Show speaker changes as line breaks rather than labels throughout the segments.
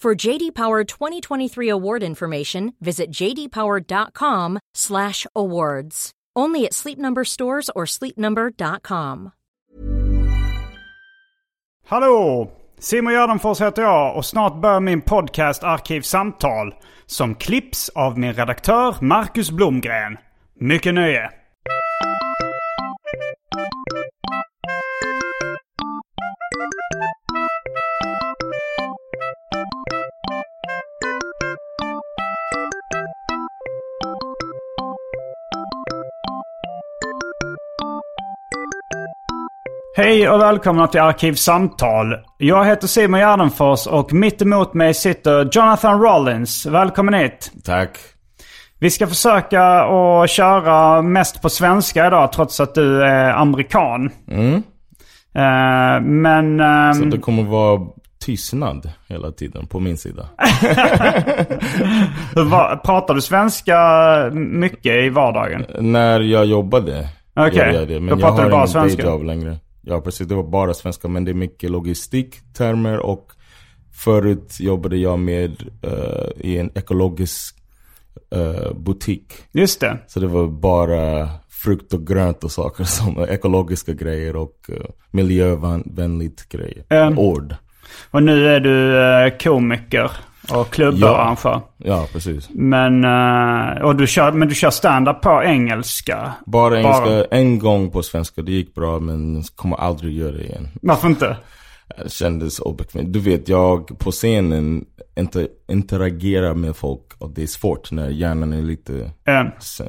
For JD Power 2023 award information, visit jdpower.com/awards. Only at Sleep Number stores or sleepnumber.com.
Hallå! Simon Gärdenfors heter jag och snart börjar min podcast Arkivsamtal som klipps av min redaktör Marcus Blomgren. Mycket nöje! Hej och välkomna till Arkivsamtal. Jag heter Simon Gärdenfors och mitt emot mig sitter Jonathan Rollins. Välkommen hit!
Tack.
Vi ska försöka att köra mest på svenska idag trots att du är amerikan. Eh, men... ehm,
Så det kommer vara tystnad hela tiden på min sida.
hur var, pratar du svenska mycket i vardagen?
När jag jobbade
Okej,
gjorde jag det. Men
då
jag
pratar du
har
bara
ingen
svenska.
dayjob längre. Ja precis, det var bara svenska. Men det är mycket logistik, termer och förut jobbade jag med eh, i en ekologisk eh, butik.
Just det.
Så det var bara frukt och grönt och saker som ekologiska grejer och eh, miljövänligt grejer.
Ehm.
Ord.
Och nu är du eh, komiker och klubbarrangör.
Ja, precis.
Men, eh, och du kör, men du kör stand-up på engelska.
Bara engelska
Bara.
en gång på svenska, det gick bra men kommer aldrig göra det igen.
Varför inte?
Det kändes obekvämt. Du vet, jag på scenen inte interagerar med folk och det är svårt när hjärnan är lite
Eh,
s-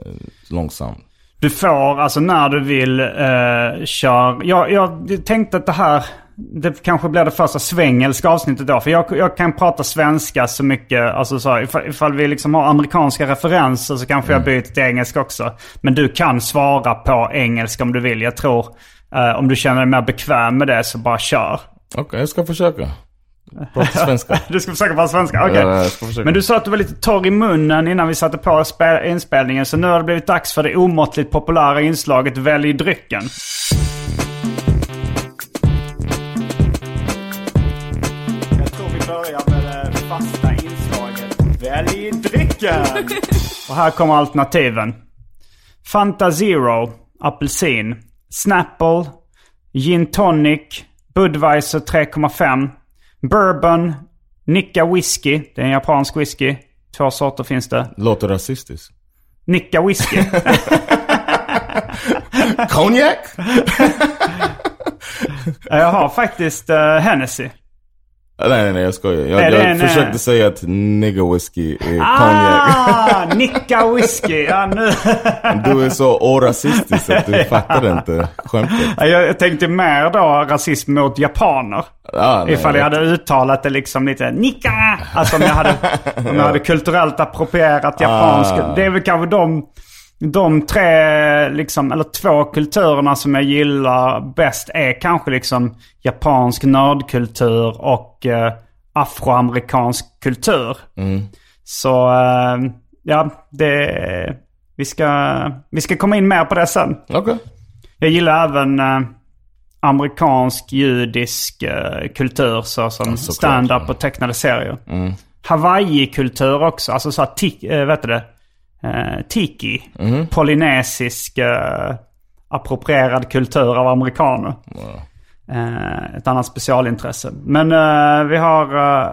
långsam.
Du får, alltså när du vill, eh, kör... Jag, jag tänkte att det här, det kanske blir det första svängelska avsnittet då. För jag, jag kan prata svenska så mycket, alltså så här, ifall, ifall vi liksom har amerikanska referenser så kanske jag byter till engelska också. Men du kan svara på engelska om du vill. Jag tror, eh, om du känner dig mer bekväm med det så bara kör.
Okej, jag ska försöka. Prata svenska.
Du ska försöka vara svenska? Okej.
Ja, jag ska försöka.
Men du sa att du var lite torr i munnen innan vi satte på spe- inspelningen. Så nu har det blivit dags för det omåttligt populära inslaget Välj drycken. Jag tror vi börjar med det fasta inslaget Välj drycken. Och här kommer alternativen. Fanta Zero, apelsin, Snapple, gin tonic, Budweiser 3,5, bourbon, Nikka whisky. Det är en japansk whisky. Två sorter finns det.
Låter rasistiskt.
Nikka whisky.
Konjak?
Jag har faktiskt eh, Hennessy.
Ah, nej, nej, nej, jag skojar.
Nej,
Jag,
det är
jag
en, eh,
försökte säga att nigger whisky är konjak.
Ah, Nikka whisky. Ja, nu.
Du är så orasistisk att du fattar inte skämtet.
Jag jag tänkte mer då rasism mot japaner.
Ah, nej,
Ifall jag hade uttalat det liksom lite nicka. Alltså om jag hade, om jag hade kulturellt approprierat japansk.
Ah.
Det är väl kanske de, de tre, liksom, eller två kulturerna som jag gillar bäst är kanske liksom japansk nördkultur och eh, afroamerikansk kultur. Så eh, ja, det, vi, ska, vi ska komma in mer på det sen.
Okej.
Jag gillar även eh, amerikansk judisk eh, kultur såsom
såklart,
stand-up
ja. Mm.
och tecknade serier. Hawaii-kultur också, alltså så här, ti- eh, vet du det? Eh, tiki.
Mm.
Polynesisk eh, approprierad kultur av amerikaner. Eh, ett annat specialintresse. Men eh, vi har eh,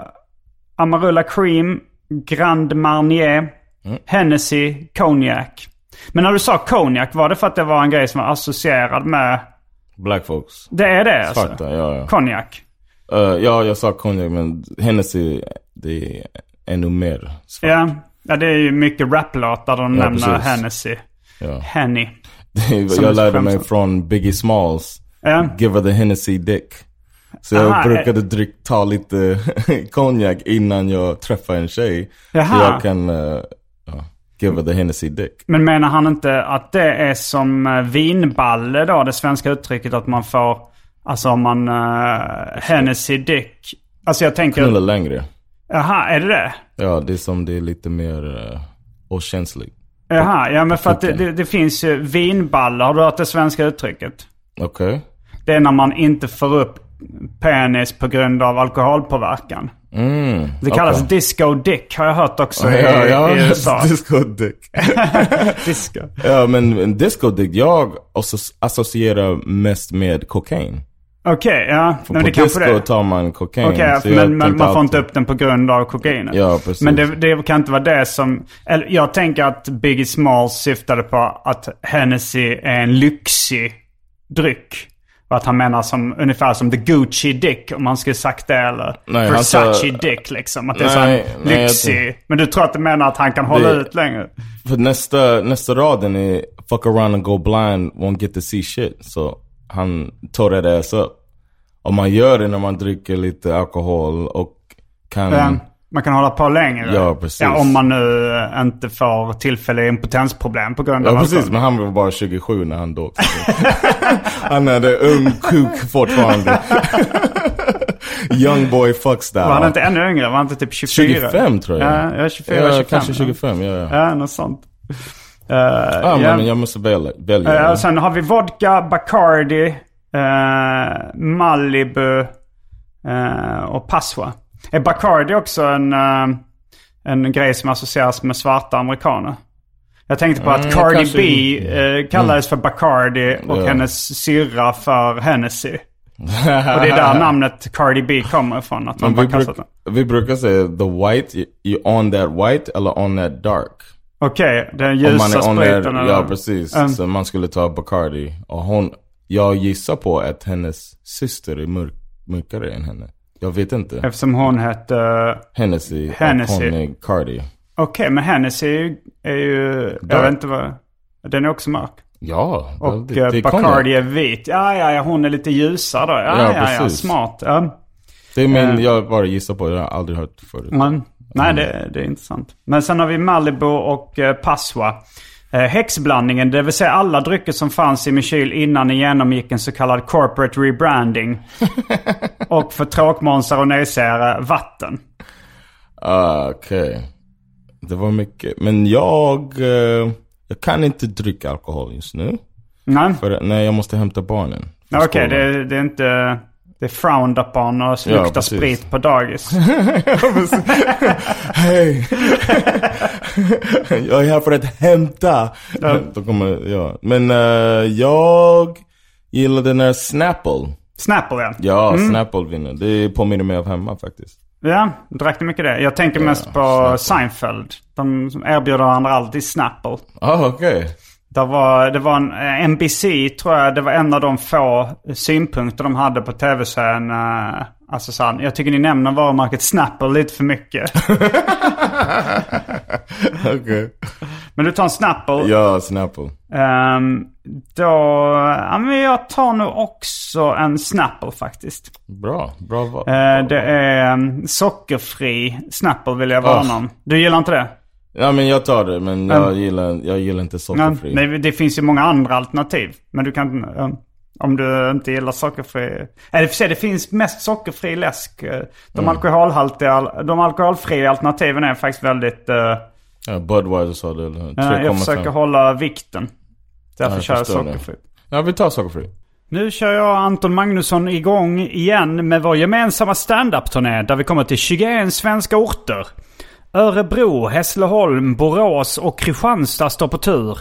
Amarula Cream, Grand Marnier,
Mm.
Hennessy, Cognac. Men när du sa Cognac, var det för att det var en grej som var associerad med...
Black folks.
Det är det alltså?
Svarta, ja ja.
Cognac.
Eh, ja, jag sa konjak men Hennessy, det är ännu mer svart.
Ja. ja, det är ju mycket raplåtar där de
Ja,
nämner
precis.
Hennessy.
Ja.
Henny. Som är
jag lärde mig
skämtsamt.
från Biggie Smalls.
Ja.
Give her the Hennessy dick. Så jag
Aha, eh.
brukade dryck, ta lite konjak innan jag träffar en tjej. Så
Jaha.
jag kan eh, ja, give her the Hennessy dick.
Men menar han inte att det är som eh, vinballe då, det svenska uttrycket att man får, alltså om man, uh, Hennessy Dick. Alltså jag
Knulla
tänker,
längre.
jaha, är det det?
Ja, det är som det är lite mer uh, okänsligt.
Jaha, ja men för att det,
Okej.
det, det finns ju vinballe, har du hört det svenska uttrycket?
Okej?
Det är när man inte får upp penis på grund av alkoholpåverkan.
Mm,
Det kallas
okej.
disco dick har jag hört också i,
Ja, ja,
i USA.
disco dick.
disco.
Ja, men en disco dick, jag asso- associerar mest med kokain.
Okej, ja.
För
Men
på
det kanske
disco
det är.
tar man kokain.
Okej,
Eh, så jag
men man,
tänkte
man får inte
alltid-
upp den på grund av kokainet.
Ja, precis.
Men det, det kan inte vara det som... Eller jag tänker att Biggie Smalls syftade på att Hennessy är en lyxig dryck. Och att han menar som, ungefär som the Gucci dick, om man skulle sagt det. Eller
Nej, han sa-
Versace dick liksom. Att det är
Nej,
så
nej,
här
jag
lyxig. men du tror att du menar att han kan hålla
Det-
ut längre?
För nästa, nästa raden är Fuck around and go blind, won't get to see shit. Så han tar det ass upp. Och man gör det när man dricker lite alkohol och kan...
Men Ehm, Man kan hålla på längre.
Mm. Ja, precis.
Ja, om man nu eh, inte får tillfälliga impotensproblem på grund av
Ja precis,
alkohol.
men han var bara 27 när han dog. han hade ung kuk fortfarande. Young boy fuck style.
Var han inte ännu yngre? Var han inte typ 24?
25 tror jag.
Ja, jag är 24, 25.
kanske 25, ja. ja. ja.
Ja, något sånt. Eh,
Ah,
ja.
men jag måste välja. välja.
Eh, och sen har vi vodka, Bacardi, eh, Malibu eh, och Passoa. Är Bacardi också en, eh, en grej som associeras med svarta amerikaner? Jag tänkte på att Cardi
Mm, kanske- Mm.
B eh, kallades för Bacardi och
Ja.
hennes syrra för Hennessy. Och det är där namnet Cardi B kommer ifrån. Att man
Men
bara
vi,
kastat den.
bruk, vi brukar säga the white, you- you on that white eller on that dark.
Okej, den
Om man
ljusa
är on
spriten
that,
eller?
ja precis. Så man skulle ta Bacardi. Och hon, jag gissar på att hennes syster är mörk, mörkare än henne. Jag vet inte.
Eftersom hon hette...
Hennessy,
Hennessy.
och hon är Cardi.
Okej, men Hennessy är ju... Är ju jag
Dark.
vet inte vad... Den är också mörk.
Ja,
Och
det- det
eh,
är
Bacardi
konjak.
är vit. Ja, ja, ja, hon är lite ljusare då. Ja, ja,
Ja,
ja,
precis.
smart. Ja.
Det är
Eh.
min, jag bara gissar på, jag har aldrig hört förut.
Men, nej, det, det är intressant. Men sen har vi Malibu och eh, Passoa. Eh, häxblandningen, det vill säga alla drycker som fanns i min kyl innan den genomgick en så kallad corporate rebranding. och för tråkmånsar och nejsägare, vatten.
Ah, Okej. Det var mycket. Men jag, eh, jag kan inte dricka alkohol just nu.
Nej,
För nej, jag måste hämta barnen. från
okej,
skolan.
det, det är inte... Det är frowned upon och
Ja,
lukta
precis.
sprit på dagis.
Hej! jag är här för att hämta. Då kommer, ja. Men eh, jag gillar den här Snapple.
Snapple ja.
Ja, Snapple vinner. Det påminner mig av hemma faktiskt.
Ja, drack ni mycket det? Jag tänker mest på Seinfeld. De som erbjuder varandra alltid Snapple.
Ah, okej.
Det var, det var en eh, NBC tror jag, det var en av de få synpunkter de hade på tv-serien. eh, Alltså så här, jag tycker ni nämner varumärket Snapple lite för mycket.
Okej.
Men du tar en Snapple.
Ja, Snapple.
Ehm, då, ja, men jag tar nog också en Snapple faktiskt.
Bra, bra val.
Eh, det är eh, sockerfri Snapple vill jag varna
Ah.
om. Du gillar inte det?
Ja, men jag tar det. Men jag, gillar, jag gillar inte
Ja,
sockerfri.
nej, det finns ju många andra alternativ. Men du kan, eh, om du inte gillar sockerfri. Eller för sig, det finns mest sockerfri läsk. Eh, De,
Mm.
alkoholhaltiga, de alkoholfria alternativen är faktiskt väldigt... eh, eh,
Ja, Budweiser sa det. eller 3,5.
jag försöker hålla vikten. Därför
Ja, jag
kör jag
förstår det.
sockerfritt.
Ja, vi tar sockerfri.
Nu kör jag och Anton Magnusson igång igen med vår gemensamma standup-turné där vi kommer till 21 svenska orter. Örebro, Hässleholm, Borås och Kristianstad står på tur.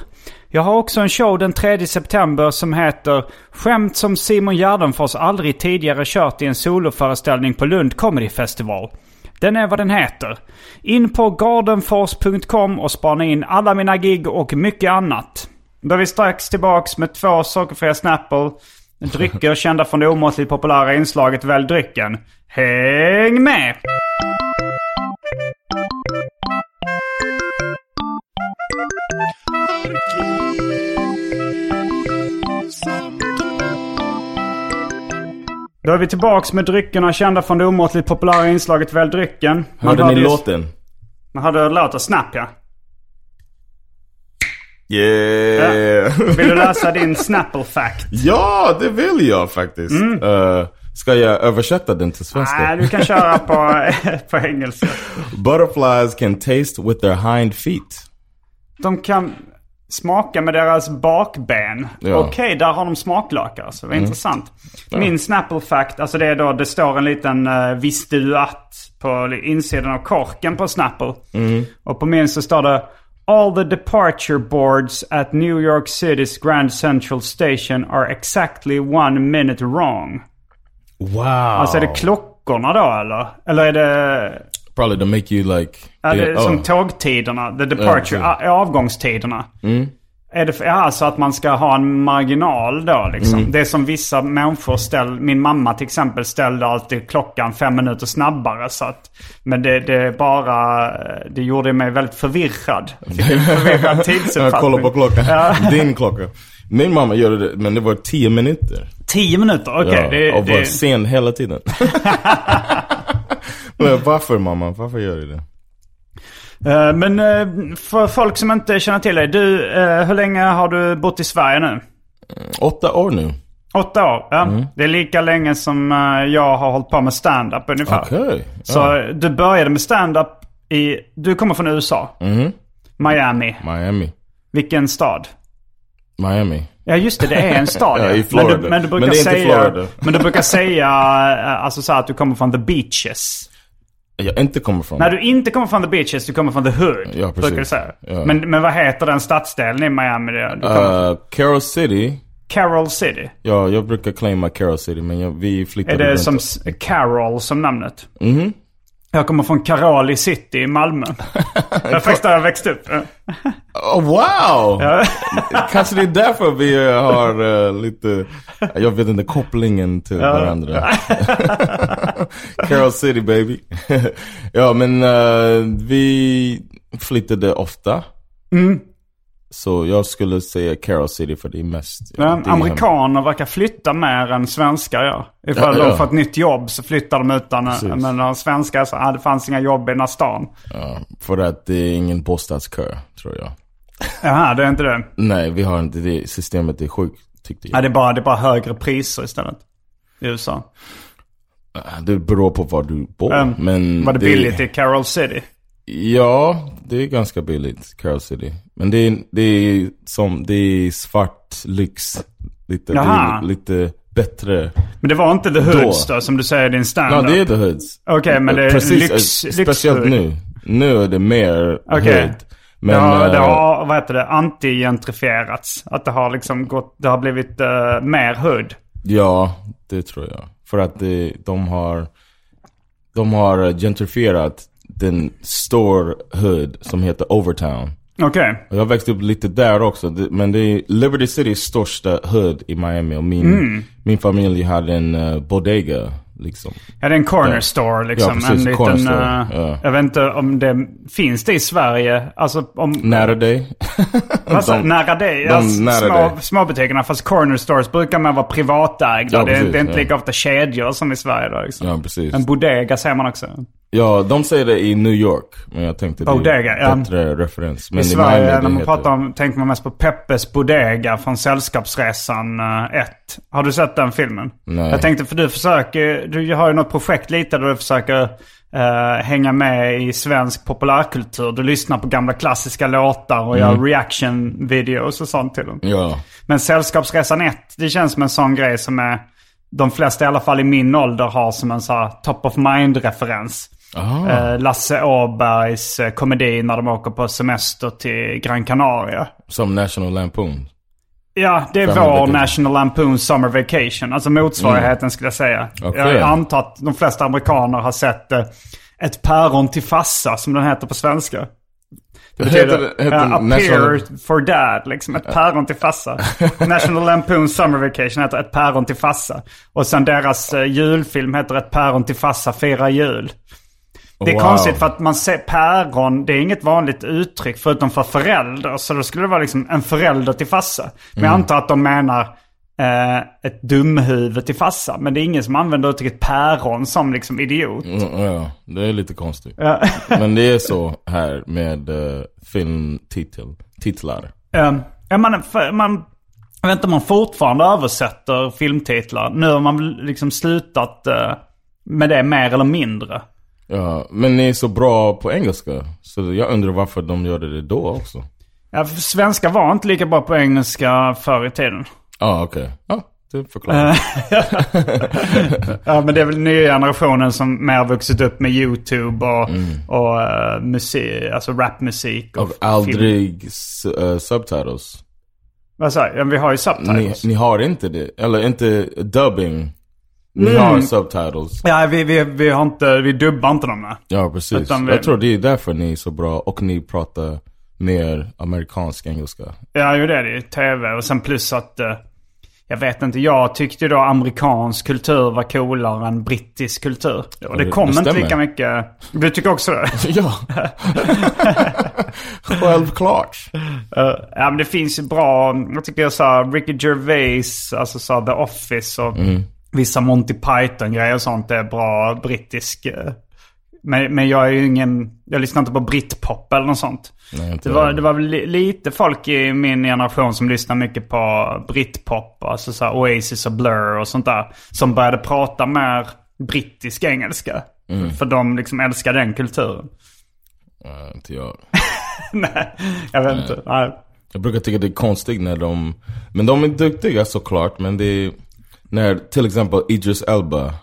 Jag har också en show den 3 september som heter Skämt som Simon Gärdenfors aldrig tidigare kört i en soloföreställning på Lund Comedy Festival. Den är vad den heter. In på gardenfors.com och spana in alla mina gig och mycket annat. Då är vi strax tillbaks med två sockerfria Snapple, drycker kända från det omåttligt populära inslaget Välj drycken. Häng med! Då är vi tillbaks med dryckerna kända från det omåttligt populära inslaget Välj drycken. Man
Hörde ni
ju-
låten?
Man hörde låten Snap ja.
Yeah!
Vill du läsa din Snapple fact?
ja, det vill jag faktiskt. Eh, ska jag översätta den till svenska?
Mm. Nej, du kan köra på, på engelska.
Butterflies can taste with their hind feet.
De kan smaka med deras bakben.
Ja. Mm.
Okej, där har de smaklökar. Så det är intressant. Min Snapple fact, alltså det är då det står en liten uh, visste du att på insidan av korken på Snapple.
Mm.
Och på min så står det All the departure boards at New York City's Grand Central Station are exactly one minute wrong.
Wow.
Alltså är det klockorna då eller? Eller är det...
Probably to make you like... oh.
Ja, det,
yeah,
är Som tågtiderna, the departure,
Ja, Mm.
a- avgångstiderna. Är det för, ja, så att man ska ha en marginal då liksom?
Mm.
Det är som vissa människor ställer, min mamma till exempel ställde alltid klockan fem minuter snabbare. Så att, men det, det är bara, det gjorde mig väldigt förvirrad. Förvirrad
Jag kollar
tidsuppfattning.
på klockan. Din klocka. Min mamma gjorde det, men det var tio minuter.
Tio minuter, okej.
ja,
det,
och var
det,
sen hela tiden. men varför mamma? Varför gör du det?
Eh, men eh, för folk som inte känner till dig, du, eh, hur länge har du bott i Sverige nu?
Åtta år nu.
Åtta år, ja.
Mm.
Det är lika länge som eh, jag har hållit på med stand-up ungefär.
Okej.
Så eh, du började med stand-up i... Du kommer från USA.
Mm.
Miami.
Miami.
Vilken stad?
Miami.
Ja just det, det är en stad.
Ja, i
Men
Florida.
du, men du
Men
brukar
det är inte
säga,
Florida.
men du brukar säga eh, alltså så här att du kommer från the beaches.
Jag inte kommer från.
När du inte kommer från the beaches, du kommer från the hood.
Ja, precis.
Brukar du säga.
Ja.
Men, men vad heter den stadsdelen i Miami? där Du kommer,
Eh, Carol City.
Carroll City.
Ja, jag brukar claima Carol City, men jag, vi flyttade
Är det
runt.
som s- Carol som namnet? Mm.
Mhm.
Jag kommer från Karoli city i Malmö. Det är faktiskt där jag växte upp.
Oh, wow! Kanske det är därför vi eh, har eh, lite, jag vet inte, kopplingen till varandra. Carol City baby. ja men eh, vi flyttade ofta.
Mm.
Så jag skulle säga Carol City för det är mest.
Men
det är
amerikaner verkar flytta mer än svenskar gör. Ifall
Ja, ja.
de får ett nytt jobb så flyttar de utan. eh, Men de svenskar så, ah, det fanns inga jobb i den här stan.
hem- För att det är ingen bostadskö, tror jag.
Jaha, det är inte det.
Nej, vi har inte det. Systemet är sjukt, tyckte jag.
Ja, det, är bara, det är bara högre priser istället. I USA.
Det beror på var du bor.
Ehm,
men
Var det billigt i Carol City?
Ja, det är ganska billigt, Carol City. Men det är, det är som, det är svart lyx. Lite, det
Jaha.
är lite bättre.
Men det var inte the hoods då, som du säger i din
Ja,
standard?
det är the hoods.
Okej, men det är lyx-
eh,
lyxhood.
Speciellt nu. Nu är det mer
Okej.
hood. Men,
ja, det
eh,
har, vad heter det, antigentrifierats. Att det har liksom gått, det har blivit eh, mer hud.
ja, det tror jag. För att det, de har, de har gentrifierat den stor hood som heter Overtown.
Okej.
Och Jag växte upp lite där också. Det- Men det är Liberty Citys största hood i Miami. Och min,
Mm.
min familj hade en eh, bodega liksom.
Ja, det är en corner
Ja.
store liksom.
Ja, precis,
en liten,
corner store,
eh,
ja.
Jag vet inte om det finns det i Sverige. Alltså om...
Nära dig.
Alltså,
Mm, de-
nära dig.
de
alltså,
nära
små,
dig.
Småbutikerna. Fast corner stores brukar man vara privatägda.
Ja,
det, är-
precis,
det är inte
ja.
lika ofta kedjor som i Sverige då liksom.
Ja, precis.
En bodega säger man också.
Ja, de säger det i New York. Men jag tänkte det
Bodega,
är
ja.
bättre referens. Men
I
Miami,
Sverige
det
när man
heter-
pratar om, tänker man mest på Peppes Bodega från Sällskapsresan 1. Har du sett den filmen?
Nej.
Jag tänkte för du försöker, du har ju något projekt lite där du försöker eh, hänga med i svensk populärkultur. Du lyssnar på gamla klassiska låtar och
Mm.
gör reaction videos och sånt till dem.
Ja.
Men Sällskapsresan 1, det känns som en sån grej som är, de flesta i alla fall i min ålder har som en så här top of mind-referens. Eh, Lasse Åbergs eh, komedi när de åker på semester till Gran Canaria.
Som National Lampoon.
Ja, det är
Fem
vår
veckor.
National Lampoon Summer Vacation. Alltså motsvarigheten skulle jag säga.
Okej.
Jag antar att de flesta amerikaner har sett eh, Ett päron till fassa som den heter på svenska. Det
Heter
betyder
det- heter
eh, a
den National-
pear for dad, liksom. Ett päron till fassa. National Lampoon Summer Vacation heter Ett päron till fassa. Och sen deras eh, julfilm heter Ett päron till fassa firar jul. Det är
Wow.
konstigt för att man ser päron, det är inget vanligt uttryck förutom för förälder. Så då skulle det vara liksom en förälder till fassa. Men
Mm.
jag antar att de menar eh, ett dumhuvud till fassa. Men det är ingen som använder uttrycket päron som liksom idiot.
Mm, ja, det är lite konstigt. Men det är så här med eh, filmtitel, titlar.
Eh, ja, man, för, man, jag vet inte om man fortfarande översätter filmtitlar. Nu har man väl liksom slutat eh, med det mer eller mindre.
Ja, men ni är så bra på engelska. Så jag undrar varför de gjorde det då också.
Ja, för svenska var inte lika bra på engelska förr i tiden.
Ja, ah, okej. Ja, det förklarar.
Ja men det är väl nya generationen som mer har vuxit upp med YouTube och,
Mm.
och eh, musik, alltså rapmusik.
Och
film.
aldrig su- eh, subtitles.
Vad sa jag? Ja, Vi har ju
Ni,
subtitles.
ni har inte det. Eller inte dubbing. Ni har subtitles.
Ja vi, vi, vi har inte, vi dubbar inte dem. nej.
Ja, precis.
Utan vi-
Jag tror det är därför ni är så bra och ni pratar mer amerikansk engelska.
Ja ju det är det ju. TV och sen plus att eh, jag vet inte, jag tyckte ju då amerikansk kultur var coolare än brittisk kultur. Och det
det-
kom
det
inte
stämmer.
lika mycket. Du tycker också det?
Ja. Självklart.
Eh, ja men det finns ju bra, jag tycker så här, Ricky Gervais, alltså så här, The Office och
Mm.
vissa Monty Python-grejer och sånt är bra brittisk. eh, Men, men jag är ju ingen, jag lyssnar inte på britpop eller något sånt.
Nej, inte
det, var,
jag.
det var väl li, lite folk i min generation som lyssnade mycket på britpop, alltså så här Oasis och Blur och sånt där. Som började prata mer brittisk engelska.
Mm.
För de liksom älskar den kulturen.
Nej, inte jag.
Nej, jag vet inte. Nej.
Jag brukar tycka det är konstigt när de... Men de är duktiga såklart, men det är... När till exempel Idris Elba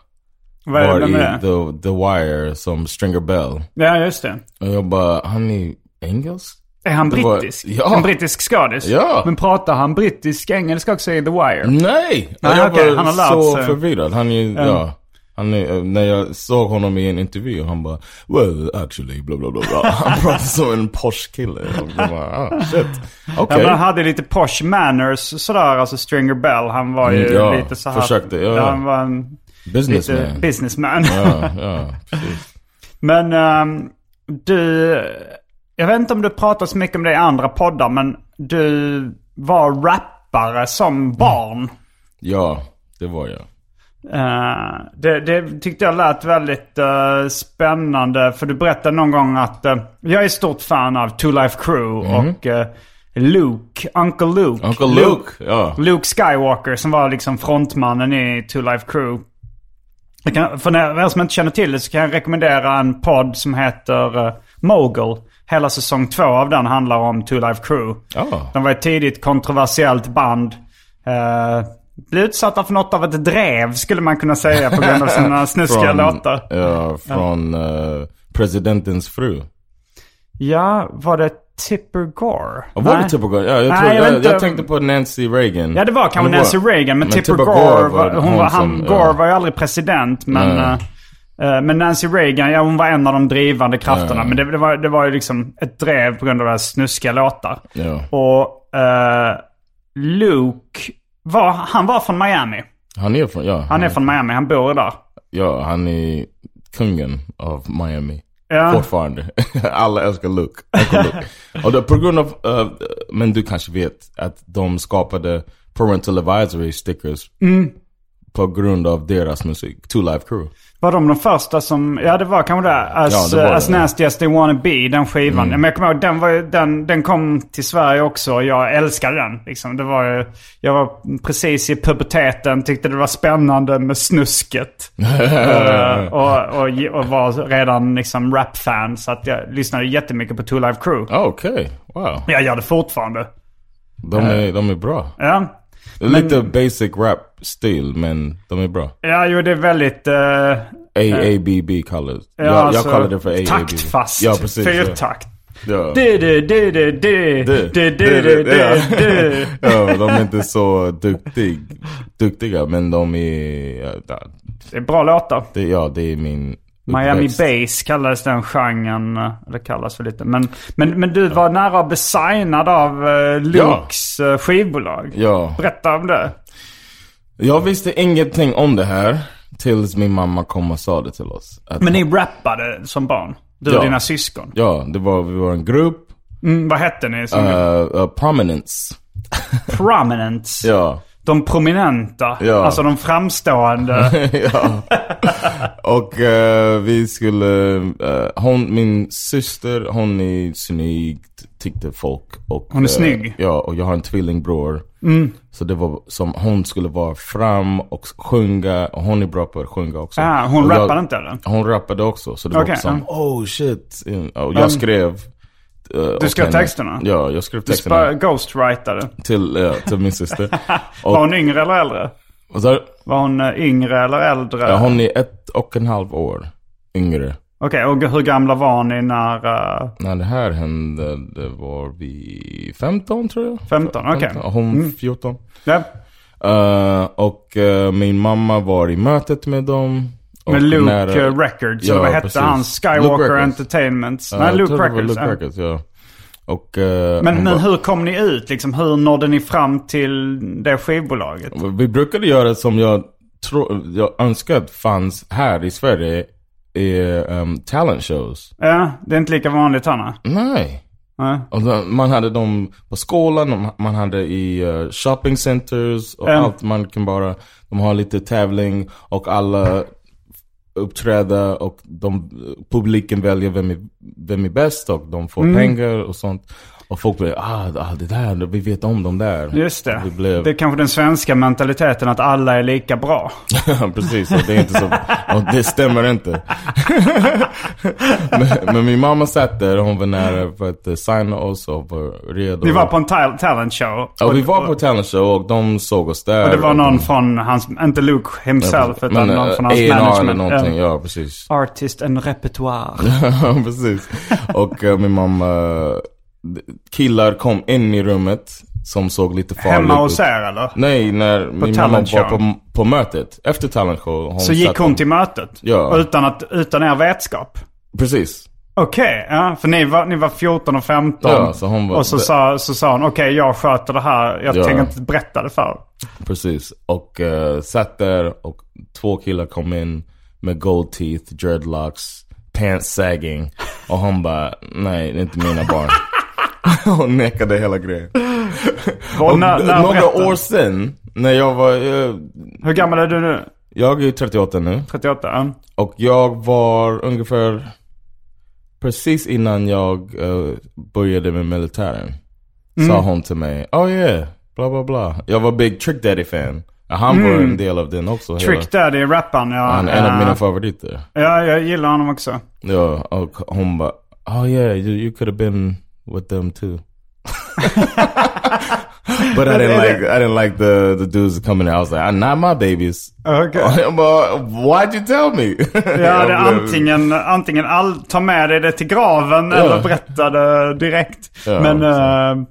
Vad är
var
det
i
med det?
The, The Wire som Stringer Bell.
Ja, just det.
Och jag bara, han är engelsk?
Är han
Det var-
brittisk?
Ja.
En brittisk skådis?
Ja. Mm,
Men pratar han brittisk engelska också i The Wire?
Nej!
Nej,
jag
okej,
var
han har lärt
så
sig.
förvirrad. Han är, ja. Han är, eh, när jag såg honom i en intervju, han bara Well actually, bla bla bla bla. Han pratar som en posh kille. Och jag bara, ah, shit.
Ja,
Okej.
men han hade lite posh manners sådär, alltså Stringer Bell. Han var ju
Mm, ja,
lite så här...
försökte, ja, ja.
Han var en lite
Businessman.
businessman.
ja, ja, precis.
Men ehm, du... Jag vet inte om du pratar så mycket om det i andra poddar, men du var rappare som barn.
Ja, det var jag.
Eh, det, det tyckte jag lät väldigt eh, spännande. För du berättade någon gång att eh, jag är stort fan av Two Life Crew och eh, Luke, Uncle Luke.
Mhm. Uncle Luke, ja.
Luke Skywalker som var liksom frontmannen i Two Life Crew. Jag kan, för när- för er som inte känner till det så kan jag rekommendera en podd som heter eh, Mogul. Hela säsong två av den handlar om Two Life Crew.
Ja.
De var ett tidigt kontroversiellt band. Eh, blev utsatta för något av ett drev skulle man kunna säga på grund av sina snuskiga låtar.
ja, från eh, presidentens fru.
Ja, var det Tipper Gore?
Och var
Nej.
det Tipper Gore? Ja, jag,
Nej,
tror,
jag vet
jag, jag,
inte.
tänkte på Nancy Reagan.
Ja, det var kanske
Men
Nancy Reagan. Men, Tipper, Gore, var, hon var, han,
som-
Gore
ja.
var ju aldrig president. Men,
Nej.
eh, eh, men Nancy Reagan, ja hon var en av de drivande krafterna.
Ja.
Men det, det, var, det var ju liksom ett drev på grund av deras snuskiga låtar.
Ja.
Och eh, Luke, var, han var från Miami.
Han är från, ja.
Han är från Miami, han bor där.
Ja, han är kungen av Miami.
Ja.
Fortfarande. Alla älskar Luke. Uncle Luke. Och det, på grund av, eh, men du kanske vet att de skapade Parental Advisory stickers
Mm.
på grund av deras musik. Two Life Crew.
Var de de första som... Ja, det var kanske det. As,
Ja, Mm. det var
as
det.
nasty as they wanna be, den skivan. Men jag kommer ihåg, den, var, ju- den, den kom till Sverige också och jag älskade den. Liksom. Det var, ju- jag var precis i puberteten, tyckte det var spännande med snusket. Eh, och, och, och var redan liksom rap-fan, så att jag lyssnade jättemycket på Two Live Crew.
Ah, Okej, wow.
Jag gör det fortfarande.
De är, de är bra.
Ja.
Det är Lite basic rap-stil, men de är bra.
Ja, jo, det är väldigt... eh,
AABB kallar det. jag, jag
alltså,
kallar det för AABB.
Taktfast.
Ja, precis. ja.
Fyrtakt.
Ja.
Du, du, du, du, du,
Du,
du, du, du, du,
ja.
du.
ja, de är inte så duktig, duktiga, men de är... Ja,
Det är bra låtar.
det, ja, det är min
Miami
uppväxt.
Bass kallades den genren. eh, Det kallas för lite. Men, men, men du var nära att bli signad av uh, Lukes eh, skivbolag.
Ja.
Berätta om det.
Jag visste ingenting om det här tills min mamma kom och sa det till oss. Att,
Men ni rappade som barn? Du
Ja.
och dina syskon?
Ja, det var, vi var en grupp.
Mm, vad hette ni? Som
eh, eh, prominence.
Prominents?
Ja.
De prominenta?
Ja.
Alltså de framstående?
ja. Och eh, vi skulle, eh, hon, min syster, hon är snygg tyckte folk. Och,
Hon är
eh,
snygg? Mm.
Ja, och jag har en tvillingbror. Så det var som hon skulle vara fram och sjunga. Och hon är bra på att sjunga också.
ah, hon
Och jag-
rappade inte eller?
Hon rappade också. Så det
Okej,
var som,
ja.
oh shit. Och jag skrev. eh, åt
skrev
henne.
texterna?
Ja, jag skrev
Du
texterna
spa- ghostwritade.
till, eh, till min syster.
Var hon yngre eller äldre?
Och så,
Var hon eh, yngre eller äldre?
ja, hon är ett och en halv år yngre.
Okej, och hur gamla var ni när... eh,
När det här hände, det var vi 15 tror jag.
15, okej. Mm.
Och Hon 14.
ja,
Eh, och eh, min mamma var i mötet med dem. Och
med Luke
när-
eh, Records,
Ja,
eller vad hette
precis.
han?
Luke
Skywalker
Records.
Entertainments?
Eh,
Nej,
jag
Luke
tror det var
Records.
Luke
ja.
Records, ja. Och, eh,
Men,
hon
men
bara-
hur kom ni ut? Liksom, hur nådde ni fram till det skivbolaget?
Vi brukade göra som jag, tro, jag önskade fanns här i Sverige. I um, talent shows.
Ja, det är inte lika vanligt Hanna.
Nej.
Nej.
Och då- Alltså, man hade dem på skolan, de- man hade i eh, shopping centers och
Mm.
allt. Man kan bara, de har lite tävling och alla uppträda och de, publiken väljer vem är, vem är bäst och de
Mm.
får pengar och sånt. Och folk blir, ah, ah det där, vi vet om de där.
Just det.
Vi blev,
Det är kanske den svenska mentaliteten att alla är lika bra.
precis, och det är inte så, och det stämmer inte. men, men min mamma satt där, hon var nära för att eh, signa oss och var redo.
Vi var på en tal- talent show.
Ja,
och,
vi var på talent show och de såg oss där.
och det var någon
de-
från hans, inte Luke himself, utan
Men,
någon
eh,
från hans
A&R eller
management.
någonting,
Eh,
ja precis.
Artist and repertoire.
Ja, precis. Och eh, min mamma, d- killar kom in i rummet som såg lite farligt
Hemma
ut.
hos er eller?
Nej, när min mamma
talent
var
show.
på, på mötet. Efter talent show. Hon
Så gick
satt-
hon till mötet?
Ja.
Utan, att, utan er vetskap?
Precis.
Okej, ja, för ni var, ni var 14 och 15.
Ja, så hon var-
och så,
det-
sa, så sa hon, okej jag sköter det här, jag
Ja.
tänker inte berätta det för er."
Precis. Och eh, satt där och två killar kom in med gold teeth, dreadlocks, pants sagging. Och hon bara, nej det är inte mina barn. hon nekade hela grejen.
Och
Och
när- när
några
berättar-
år sen, när jag var, eh,
Hur gammal är du nu?
jag är 38 nu.
38? Ja.
Och jag var ungefär precis innan jag eh, började med militären. Sa hon till mig, oh yeah, bla bla bla. Jag var big Trick Daddy fan. Han var en del av den också. hela-
Trick Daddy, rapparen ja.
Han är en av
Eh,
mina favoriter.
Ja, jag gillar honom också.
Ja, och hon bara, oh yeah, you, you could have been with them too. But I didn't like I didn't like the the dudes coming out. I was like, "Ah, not my babies.
Okej.
Jag bara, why'd you tell me?
Ja, det är
Jag blev-
antingen, antingen all, ta med dig det till graven eller berätta det direkt.
Ja,
men, eh,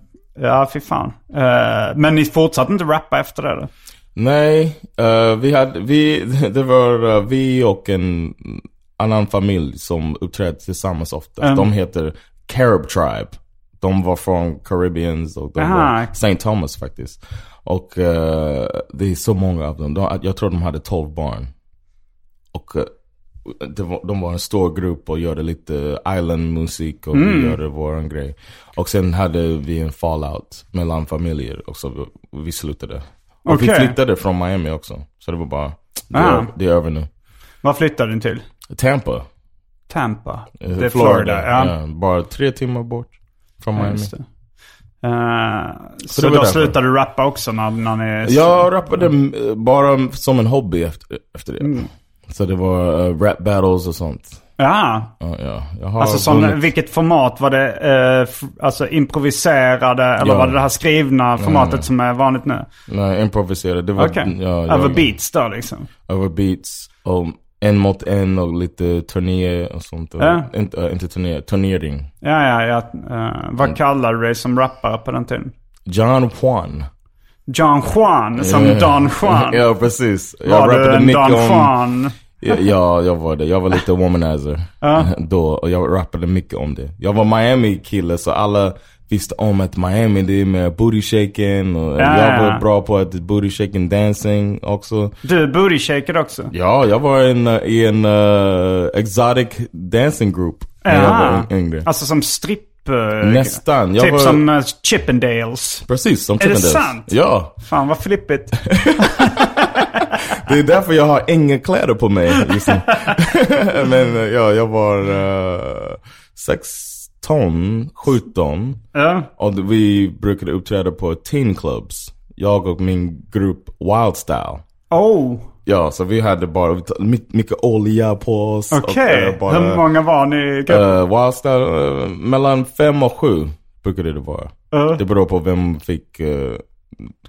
ja fy fan. Eh, men ni fortsatte inte rappa efter det? eller?
Nej, eh, vi hade, vi, det var eh, vi och en annan familj som uppträdde tillsammans ofta. De heter Carib Tribe. De var från Caribbeans och de
Aha.
var St. Thomas faktiskt. Och eh, det är så många av dem. De, jag tror de hade 12 barn. Och eh, det var, de var en stor grupp och gjorde lite islandmusik och
Mm.
vi gjorde våran grej. Och sen hade vi en fallout mellan familjer och så vi, vi slutade. Och vi
Okej.
flyttade från Miami också. Så det var bara, det,
Ah.
är, det är över nu.
Vad flyttade ni till?
Tampa.
Tampa.
eh,
det är Florida. ja.
ja. Bara tre timmar bort från
Ja,
Miami.
just det. Eh, så
det
då
var därför.
slutade du rappa också när, när ni...
Jag rappade eh, bara som en hobby efter, efter det.
Mm.
Så det var eh, rap battles och sånt.
Ja.
Ja, ja. Jag har
Alltså sån,
vunnit-
vilket format var det? eh, f- alltså improviserade eller
Ja.
var det det här skrivna formatet som är vanligt nu?
Nej, improviserade. Det var...
Okej.
ja, jag-
Över beats då liksom?
över beats och en mot en och lite turnéer och sånt. Och
Ja.
Inte, äh, inte turnéer, turnering.
Ja, ja, ja. eh,
Mm.
vad kallade du dig som rappare på den tiden?
John Juan.
John Juan, som Don Juan.
ja, precis.
Var du
Eh, rappade
en
mycket
Don
om-
Juan?
Ja, jag var det. Jag var lite womanizer då och jag rappade mycket om det. Jag var Miami-kille så alla visste om att Miami det är med booty shaking och
Ja,
jag
ja.
var bra på att booty shaking dancing också.
Du booty shaker också.
Ja, jag var i en, eh, i en eh, exotic dancing group när jag
Aha.
var yngre.
Alltså som stripp... eh,
Nästan. Jag
typ
var,
som eh, Chippendales.
Precis, som
det
Chippendales.
sant?
Ja.
Fan vad flippigt.
Det är därför jag har inga kläder på mig just nu. Men eh, ja, jag var eh, 16, 17
Ja.
och vi brukade uppträda på teen clubs. Jag och min grupp Wild Style.
Oh,
Ja, så vi hade bara vi tog my- mycket olja på oss. och,
okej.
eh, bara,
Hur många var ni i gruppen?
eh, Wild Style, eh, mellan fem och sju brukade det vara. Det beror på vem fick eh,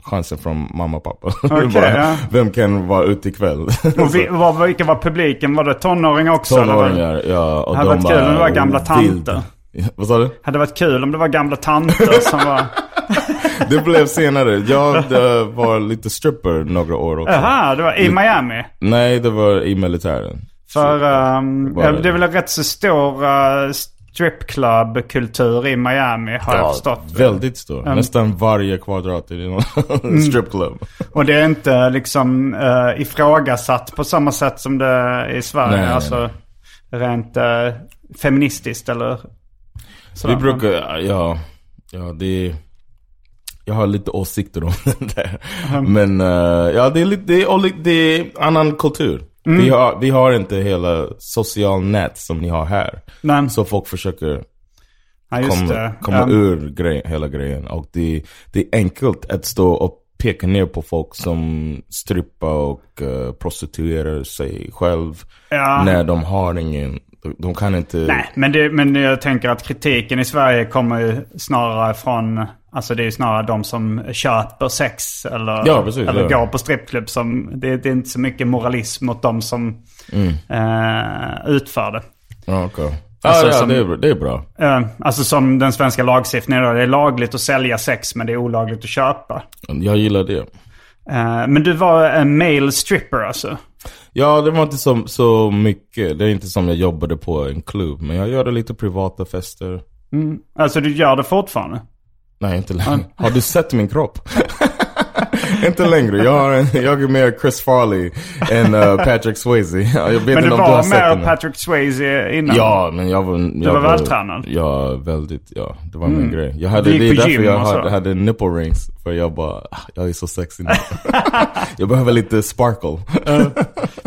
chansen från mamma och pappa.
Okej,
Bara,
ja.
Vem kan vara ute ikväll?
Och vi, var, vilka var publiken? Var det tonåringar också? eller vad?
alltså- Tonåringar, ja. Och
Det hade
de
varit kul om det var gamla
vild.
tanter.
Ja, Vad sa du?
Hade varit kul om det var gamla tanter som var...
Det blev senare. Jag eh, var lite stripper några år också.
Jaha, det var
Mm.
i Miami.
Nej, det var i militären.
För ehm,
var det.
det är väl en rätt så stor uh, stripclub-kultur i Miami har jag förstått.
väldigt stor. Nästan varje kvadrat är det någon stripclub.
Och det är inte liksom uh, ifrågasatt på samma sätt som det är i Sverige.
Nej, nej,
alltså rent eh, feministiskt eller
Vi
sådär.
brukar, ja, ja det är, jag har lite åsikter om det där. Men eh, ja, det är lite, det är, oli- det är annan kultur.
Mm.
Vi, har, vi har inte hela social nät som ni har här.
Nej.
Så folk försöker
ja, just
komma,
det.
komma
Ja.
ur grej, hela grejen. Och det, det är enkelt att stå och peka ner på folk som strippar och eh, prostituerar sig själv.
Ja.
När de har ingen, de, de kan inte...
Nej, men, det, men jag tänker att kritiken i Sverige kommer ju snarare från... Alltså det är ju snarare de som köper sex eller,
Ja, precis,
eller
ja.
går på strippklubb som... Det, det är inte så mycket moralism mot de som
Mm.
eh, utför det.
Ja, okej.
Alltså,
ja, ja,
som-
det, är, bra- det är bra.
Eh, alltså som den svenska lagstiftningen då. Det är lagligt att sälja sex men det är olagligt att köpa.
Jag gillar det.
Eh, men du var en male stripper alltså?
Ja, det var inte så, så mycket. Det är inte som jag jobbade på en klubb. Men jag gjorde lite privata fester.
Alltså du gör det fortfarande?
Nej, inte
Mm.
längre. Har du sett min kropp? inte längre. Jag, har en, jag är mer Chris Farley än eh, Patrick Swayze. Jag vet
Men
inte
du
om du har
var
sett den.
mer Patrick Swayze innan?
Ja, men jag var... Jag
var vältränad? Mm.
Ja, väldigt. Ja, det var min grej. Jag
Du
hade,
gick
det är
på
därför
gym
jag
och så?
hade, hade nipple rings. För jag bara, "Ah, jag är så sexig nu. jag behöver lite sparkle.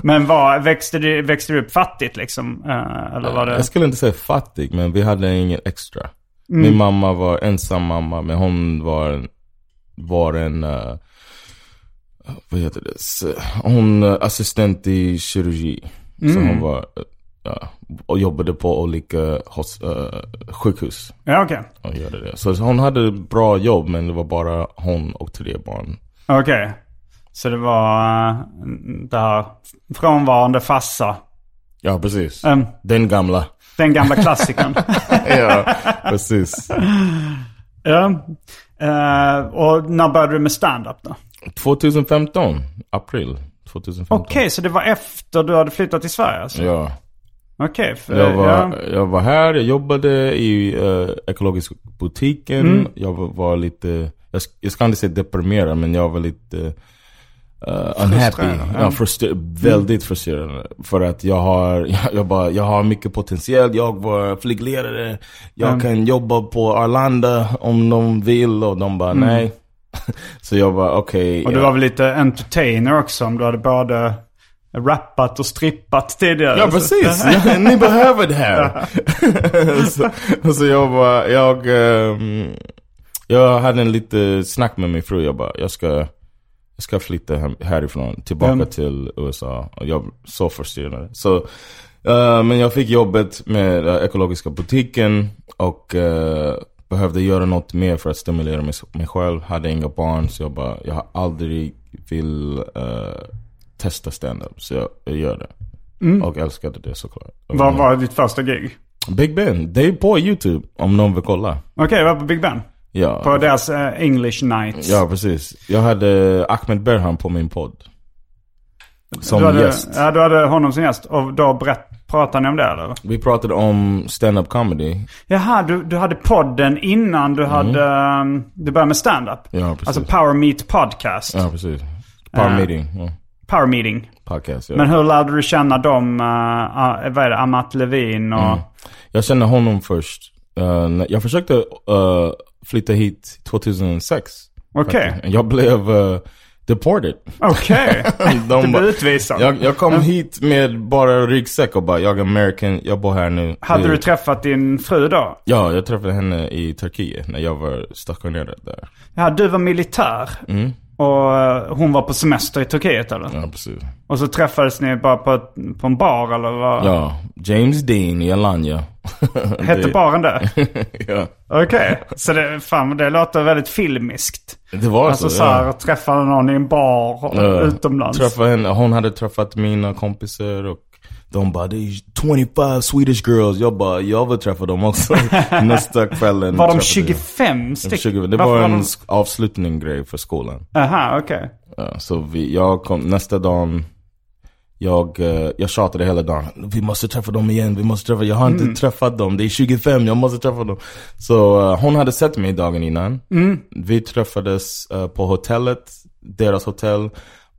Men vad, växte, du, växte du upp fattigt liksom? Eh, eller var det...
Jag skulle inte säga fattig, men vi hade ingen extra. Min mamma var ensam mamma, men hon var, var en... eh, vad heter det? S- Hon eh, assistent i kirurgi. Så hon var... eh, ja, och jobbade på olika hos, eh, sjukhus.
Ja, okej.
Hon gjorde det. Så hon hade bra jobb, men det var bara hon och tre barn.
Okej. Så det var eh, det här frånvarande fassa.
Ja, precis.
Ehm,
Den gamla.
den gamla klassikern.
ja, precis.
Ja. Eh, och när började du med stand-up då?
2015, april 2015.
Okej, så det var efter du hade flyttat till Sverige alltså?
Ja.
Okej. för-
Jag var,
Eh, ja.
jag var här, jag jobbade i eh, ekologiska butiken.
Mm.
Jag var, var lite, jag, sk- jag ska inte säga deprimerad men jag var lite eh, unhappy. Ja,
Mm.
frustr- väldigt frustrerad. För att jag har, jag, jag, bara, jag har mycket potential. Jag var flygledare. Jag
Mm.
kan jobba på Arlanda om de vill. Och de bara nej. Så jag bara okej.
Mm. Och du
ja.
var väl lite entertainer också om du hade både rappat och strippat tidigare?
Ja precis, ja, ni behöver det här. så, så jag bara, jag, ehm, jag hade en lite snack med min fru. Jag bara, jag ska, jag ska flytta hem, härifrån tillbaka
Mm.
till USA. Och jag var så frustrerad. Så, eh, men jag fick jobbet med eh, ekologiska butiken och eh, behövde göra något mer för att stimulera mig, mig själv. Hade inga barn så jag bara, jag har aldrig vill eh, testa stand-up. Så jag, jag gör det.
Mm.
Och älskade det såklart.
Vad var ditt första gig?
Big Ben, det är på YouTube om någon vill kolla.
Okej, jag var på Big Ben.
Ja,
På deras eh, English nights.
ja precis. Jag hade Ahmed Berhan på min podd. Som
du hade,
gäst.
Ja, du hade honom som gäst. Och då berätt, pratade ni om det eller?
Vi pratade om stand-up comedy.
Jaha, du, du hade podden innan du hade... ehm, Du började med stand-up.
Mm. Ja, precis.
Alltså Power Meet Podcast.
Ja, precis. Power
Eh.
meeting. Ja.
Power Meeting.
Podcast, ja.
Men hur lärde du känna dem? eh, ah, vad är det? Amat Levin
Mm.
och...
Jag kände honom först. Eh, när- jag försökte eh, flytta hit 2006.
Okej.
faktiskt. Jag blev eh, deported.
Okej.
De
Du
bara-
blev utvisad.
jag, jag kom hit med bara ryggsäck och bara, jag är American, jag bor här nu.
Hade
Nu-
du träffat din fru då?
Ja, jag träffade henne i Turkiet när jag var stationerad där.
Ja, du var militär. Och eh, hon var på semester i Turkiet eller?
Mm. Ja, precis.
Och så träffades ni bara på, ett, på en bar eller vad?
Ja, James Dean i Alanya.
Hette
Det-
baren det?
ja,
Okej. Så det, fan, det låter väldigt filmiskt.
det var
Alltså
så.
så
ja.
här, att träffa någon i en bar och-
Ja.
utomlands.
Eh, Träffa henne, hon hade träffat mina kompisar och de bara, det är 25 Swedish girls. Jag bara, jag vill träffa dem också. Nästa kvällen
Var de
träffade jag.
25
De
stycken?
20, det
Varför
var en
de-
sk- avslutning grej för skolan.
Aha, okej.
Ja, så vi, jag kom, nästa dag, jag, eh, jag tjatade hela dagen. Vi måste träffa dem igen, vi måste träffa, jag har inte träffat dem, det är 25, jag måste träffa dem. Så eh, hon hade sett mig dagen innan. Vi träffades eh, på hotellet, deras hotell.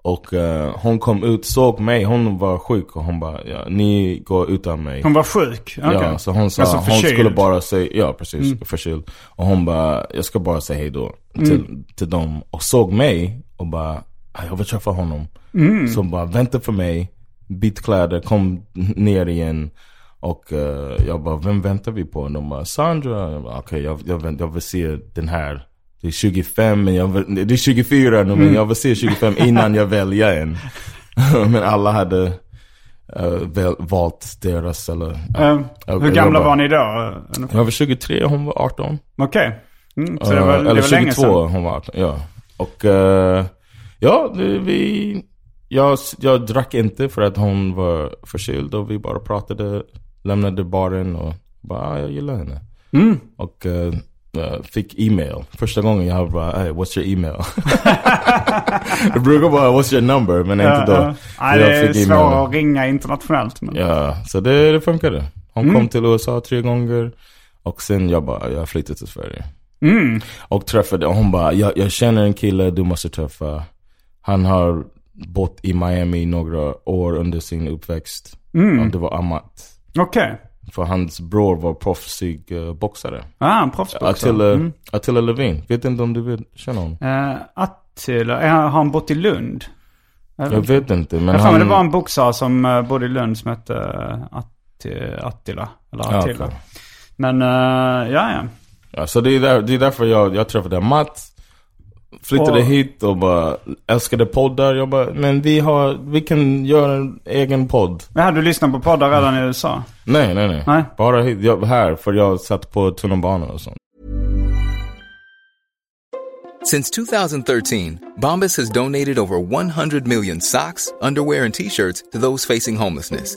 Och eh, hon kom ut, såg mig, hon var sjuk och hon bara, ja, ni går utan mig.
Hon var sjuk? Okej.
Ja, så hon sa,
Alltså Mm.
hon
förkyld.
skulle bara säga, ja precis, förkyld. Och hon bara, jag ska bara säga hej då
Mm.
till, till dem. Och såg mig och bara, "Ah, jag vill träffa honom.
Mm.
Så hon bara, vänta för mig, byt kläder, kom ner igen. Och eh, jag bara, vem väntar vi på? De bara, Sandra. Jag bara, Okej, jag, jag, vänt- jag vill se den här. Det är 25, men jag vill, det är 24 nu,
Mm.
men jag vill se 25 innan jag väljer en. men alla hade eh, väl, valt deras eller... ja.
Eh,
Ja,
hur
jag
gamla
bara-
var ni då? Ungefär.
Jag var 23 hon var 18.
Okej. Mm, så det
Eh,
var, det
Eller
var länge
22
sedan.
hon var 18, ja. Och eh, ja, det, vi... Jag, jag drack inte för att hon var förkyld och vi bara pratade, lämnade baren och bara, ah, jag gillar henne.
Mm.
Och eh, eh, fick e-mail. Första gången jag bara, hey, what's your email? jag brukar bara, what's your number? Men
Ja,
inte då.
ja. Nej,
Jag
det är
fick
svårare
e-mail.
att ringa internationellt. Men...
Ja, så det, det funkade. Hon
Mm.
kom till USA tre gånger och sen jag bara, jag flyttade till Sverige.
Mm.
Och träffade, och hon bara, jag, jag känner en kille du måste träffa. Han har bott i Miami några år under sin uppväxt.
Mm.
Och det var Amat.
Okej.
För hans bror var proffsig eh, boxare.
Ah, en proffsboxare.
Attila, Attila Levin. Vet inte om du vet, känner honom?
Eh, Attila, är han- har han bott i Lund?
Jag vet inte, men
Jag har för
han...
mig det var en boxare som eh, bodde i Lund som hette eh, Atti, Attila. Eller
Ja,
Attila.
okej.
Men eh, ja, ja.
Ja, så det är, där, det är därför jag, jag träffade Matt. Flyttade
Och-
hit och bara älskade poddar. Jag bara, men vi har, vi kan göra en egen podd.
Men hade du lyssnat på poddar redan i USA?
Nej, nej, nej.
Nej.
Bara hit, jag, här, för jag satt på tunnelbanan och sånt.
Since 2013, Bombas has donated over 100 million socks, underwear, and t shirts to those facing homelessness.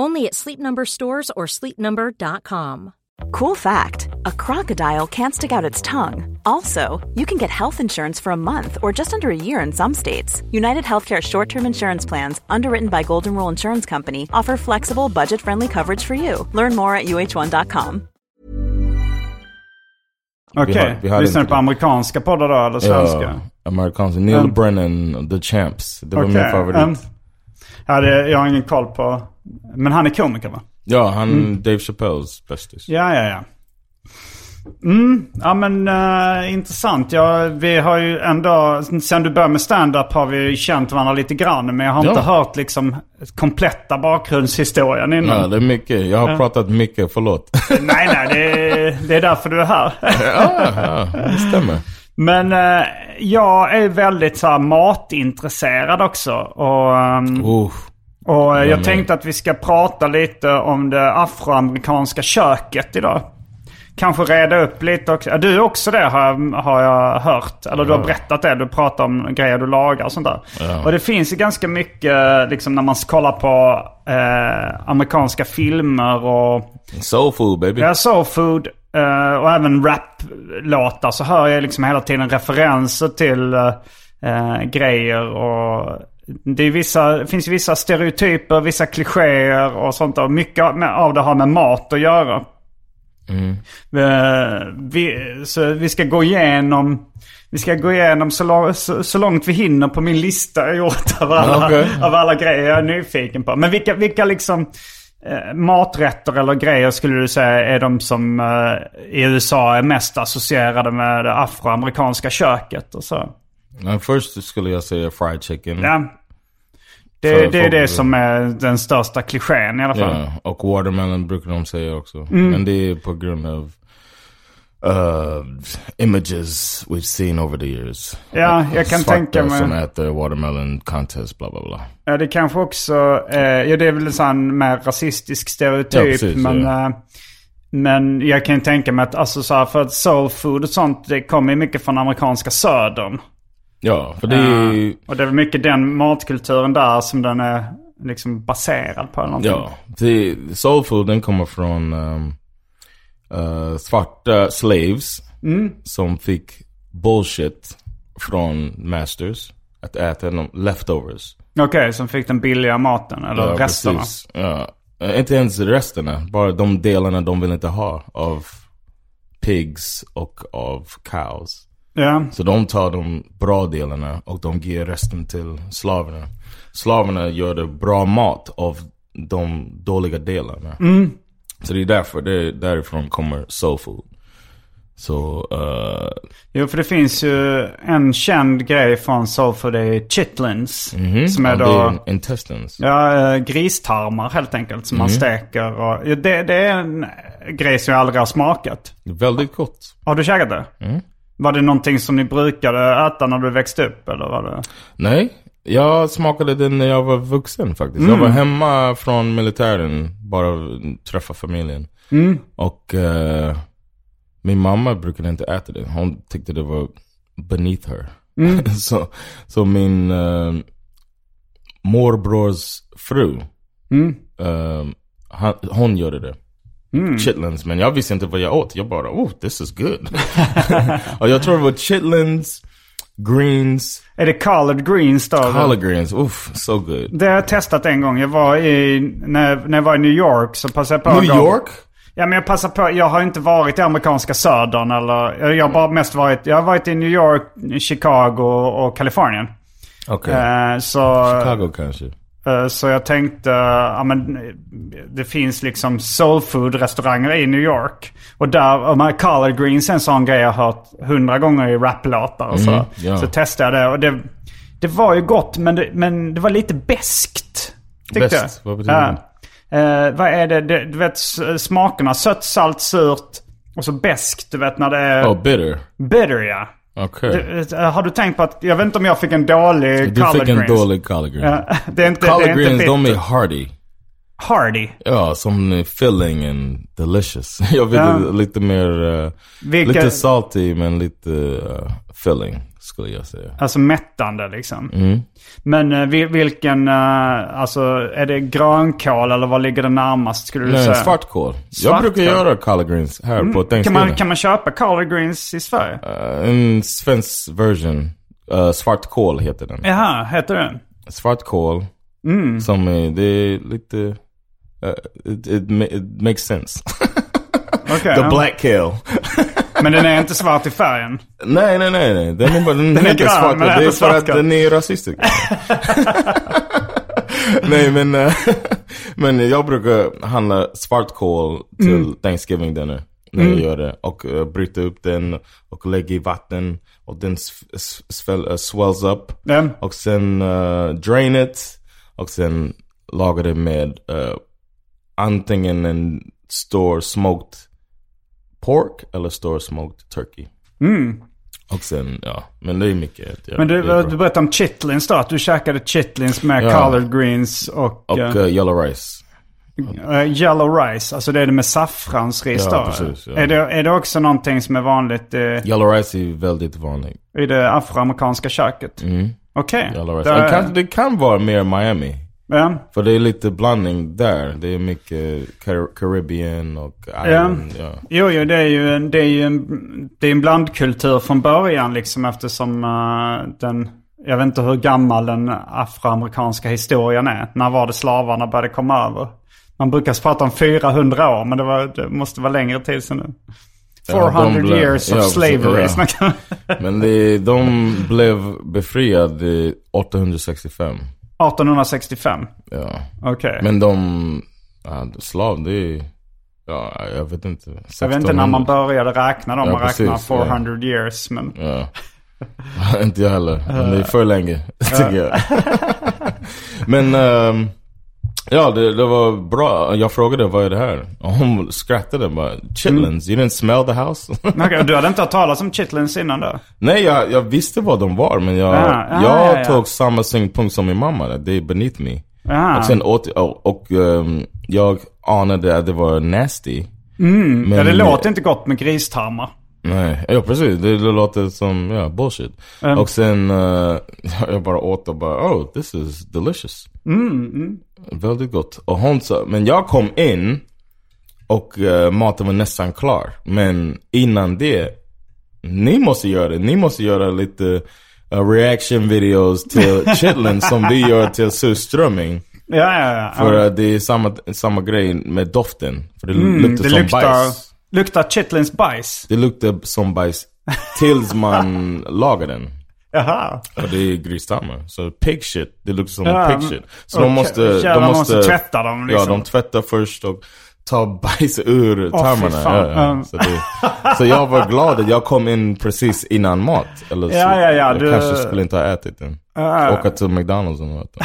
Only at Sleep Number stores or sleepnumber.com.
Cool fact a crocodile can't stick out its tongue. Also, you can get health insurance for a month or just under a year in some states. United Healthcare short term insurance plans, underwritten by Golden Rule Insurance Company, offer flexible, budget friendly coverage for you. Learn more at uh1.com.
Okej.
har- vi hade
Lyssnade du
inte
på
det.
amerikanska poddar då eller svenska?
Ja, amerikanska. Neil
Mm.
Brennan, The Champs. Det var
Okej, um,
min favorit.
ehm, ja, det, jag har ingen koll på Men han är komiker va?
Ja, han Dave Chappelles bästis.
Mm. Ja, ja, ja. Mm, ja men eh, intressant. Ja, vi har ju ändå, sen du började med stand-up har vi ju känt varandra lite grann. Men jag har
Ja.
inte hört liksom kompletta bakgrundshistorien innan.
Ja, det är mycket. Jag har pratat mycket, förlåt.
Nej, nej, det är, det är därför du är här.
ja, det stämmer.
Men eh, jag är väldigt så här, matintresserad också. Och, ehm,
Oh.
och eh, jag tänkte att vi ska prata lite om det afroamerikanska köket idag. Kanske reda upp lite också. Ja, Du är också det har jag, har jag hört. Eller du har berättat det. Du pratar om grejer du lagar och sånt där. Och det finns ju ganska mycket liksom när man kollar på eh, amerikanska filmer och
Soul food baby.
jag såg Food eh, och även rap-låtar så hör jag liksom hela tiden referenser till eh, grejer och det, är vissa, det finns vissa stereotyper, vissa klichéer och sånt där. Mycket av- med- av det har med mat att göra. Eh, vi, så vi ska gå igenom vi ska gå igenom så, lång, så, så långt vi hinner på min lista jag gjort av alla,
Okej.
av alla grejer jag är nyfiken på. Men vilka, vilka liksom eh, maträtter eller grejer skulle du säga är de som eh, i USA är mest associerade med det afroamerikanska köket och så?
Men först skulle jag säga fried chicken.
Ja.
Så
Det, det är
folk-
det som är den största klichén i alla fall.
Ja, och watermelon brukar de säga också.
Mm.
Men det är på grund av uh, images we've seen over the years.
Ja, jag kan
Svarta
tänka mig-
som äter watermelon contest, bla bla bla.
Ja, det kanske också... Eh, ja, det är väl en sån mer rasistisk stereotyp.
Ja, precis,
men,
ja.
eh, men jag kan ju tänka mig att, alltså så här, för att soul food och sånt, det kommer ju mycket från amerikanska södern.
Ja, för det är ju...
Och det är väl mycket den matkulturen där som den är liksom baserad på eller någonting.
Ja, det, soul food den kommer från um, eh, svarta slaves
Mm.
som fick bullshit från masters att äta de leftovers.
Okej, som fick den billiga maten eller resterna.
precis. Ja. Eh, Inte ens resterna, bara de delarna de vill inte ha av pigs och av cows.
Ja.
Så de tar de bra delarna och de ger resten till slaverna. Slaverna gör det bra mat av de dåliga delarna.
Mm.
Så det är därför, det är därifrån kommer soul food. Så, eh,
Jo, för det finns ju en känd grej från soul food, det är chitlins. Som är
Mhm. det
då...
är intestines.
Ja, eh, gristarmar helt enkelt som man
Mm.
steker. Och, ja, det, det är en grej som jag aldrig har smakat.
Väldigt gott.
Har du käkat det?
Mm.
Var det någonting som ni brukade äta när du växte upp? Eller var det...
Nej, jag smakade den när jag var vuxen faktiskt. Jag var hemma från militären, bara träffa familjen. Och eh, min mamma brukade inte äta det. Hon tyckte det var beneath her. så, så min eh, morbrors fru, eh, han, hon gjorde det. Chitlins, men jag visste inte vad jag åt. Jag bara, oh this is good. och jag tror det var chitlins, greens,
Är det collard greens då?
Collard greens, oof, so good.
Det har jag testat en gång. Jag var i, när, när jag var i New York så passade jag på
New
att gå-
York?
Ja men jag passar på. Jag har inte varit i amerikanska södern eller... Jag har bara mest varit... Jag har varit i New York, Chicago och Kalifornien.
Okej.
Eh, så...
Chicago kanske.
Eh, Så jag tänkte, ja men eh, det finns liksom soul food restauranger i New York. Och där, och med collard greens är en sån grej jag har hört hundra gånger i raplåtar och så.
Mm, ja.
Så testade jag det och det, det var ju gott men det, men det var lite beskt Tyckte
Beskt?
jag.
Vad betyder
Ja. Eh, vad är det? det? Du vet s- smakerna, sött, salt, surt och så beskt Du vet när det är
Oh, bitter.
bitter ja.
Okej.
Eh, Har du tänkt på att, jag vet inte om jag fick en dålig
Du
collard
fick en
greens.
dålig collard green.
Det är inte, det
Collard
är inte
greens, de är
bitter.
hardy.
Hardy.
Ja, som är filling and delicious. Jag vill
Ja.
lite mer, eh,
Vilka-
lite salty men lite eh, filling skulle jag säga.
Alltså mättande liksom. Men eh, vil- vilken, eh, alltså är det grönkål eller vad ligger det närmast skulle du säga?
Nej, svartkål. Jag
Svartkål. Mm.
brukar göra collard greens här på
Kan
Thanksgiving.
man, kan man köpa collard greens i Sverige?
Eh, en svensk version. Uh, svartkål heter den.
Jaha, heter den?
svartkål
Mm.
som är, det är lite, eh, it, it, ma- it makes sense.
Okej.
The black kale.
Men den är inte svart i färgen?
nej, nej, nej, nej. Den är, bara, den
är
heter
grön, men
svartkål.
den
Det är
heter
för att
svartkål.
den är rasistisk. nej, men eh, Men jag brukar handla svartkål till
Mm.
Thanksgiving dinner. När jag gör det. Och eh, bryta upp den och lägga i vatten. Och den s- s- sväl- eh, swells up.
Ja.
Och sen eh, drain it. Och sen laga det med eh, antingen en stor smoked pork eller stor smoked turkey. Och sen, ja. Mm. Men det är mycket. att göra.
Men du, eh,
Det är bra.
du berättade om chitlins då. Att du käkade chitlins med
Ja.
collard greens och,
och
eh,
eh, yellow rice.
eh, yellow rice. Alltså det är det med saffransris
Ja,
då.
precis, ja.
är, det, är det också någonting som är vanligt eh,
Yellow rice är väldigt vanligt.
i det afroamerikanska köket?
Mm.
Okej.
Yellow rice.
Det är-
Det, kan, det kan vara mer Miami.
ja.
För det är lite blandning där. Det är mycket Car- Caribbean och Island. Mm, Ja.
Jo, jo, det är ju en, det är ju en, det är en blandkultur från början liksom eftersom eh, den, jag vet inte hur gammal den afroamerikanska historien är. När var det slavarna började komma över? Man brukar prata om 400 år, men det, var, det måste vara längre tid sedan nu.
Ja, de
400
blev-
years
ja,
of
precis,
slavery.
ja.
snackar man.
Men det, de blev befriade 865.
1865.
Ja.
Okej.
Men de, ja, slav det är, ja jag vet inte.
Jag vet inte när man började räkna dem.
Ja,
man räknar
precis, ja.
400 years. Men...
Ja. inte jag heller. Men det är för länge, tycker jag. Men ehm, ja, det, det var bra. Jag frågade vad är det här? Och hon skrattade bara. Chitlins, you didn't smell the house?
Men okej, du hade inte hört talas om chitlins innan då?
Nej, jag, jag visste vad de var. Men jag,
Ah, ah,
jag
ja, ja.
tog samma synpunkt som min mamma. där. Det är beneath me.
Ah.
Och sen åt och, och ehm, jag anade att det var nasty. men,
Ja, det låter inte gott med gristarmar.
Nej, ja precis. Det, det låter som, ja, bullshit. Och sen, eh, jag bara åt och bara, oh this is delicious. Mm, Väldigt gott. Och hon sa, men jag kom in och eh, maten var nästan klar. Men innan det, ni måste göra det. Ni måste göra lite eh, reaction videos till chitlin som vi gör till surströmming.
Ja, ja, ja.
För eh, det är samma, samma grej med doften. För det
Mm,
luktar som bajs.
luktar chitlins bajs.
Det luktar som bajs tills man lagar den.
Jaha.
Och det är grisstammar. Så pig shit, det luktar som
Ja,
pig shit. Så de
okej.
måste...
Jävlar,
De
man
måste,
måste tvätta dem, liksom.
Ja, de tvättar först och tar bajs ur
fy
tarmarna.
fan.
ja, ja.
Um.
Så, det, så jag var glad att jag kom in precis innan mat. Eller så,
Ja, ja, ja,
jag
du-
kanske skulle inte ha ätit den. Åka till McDonalds och äta.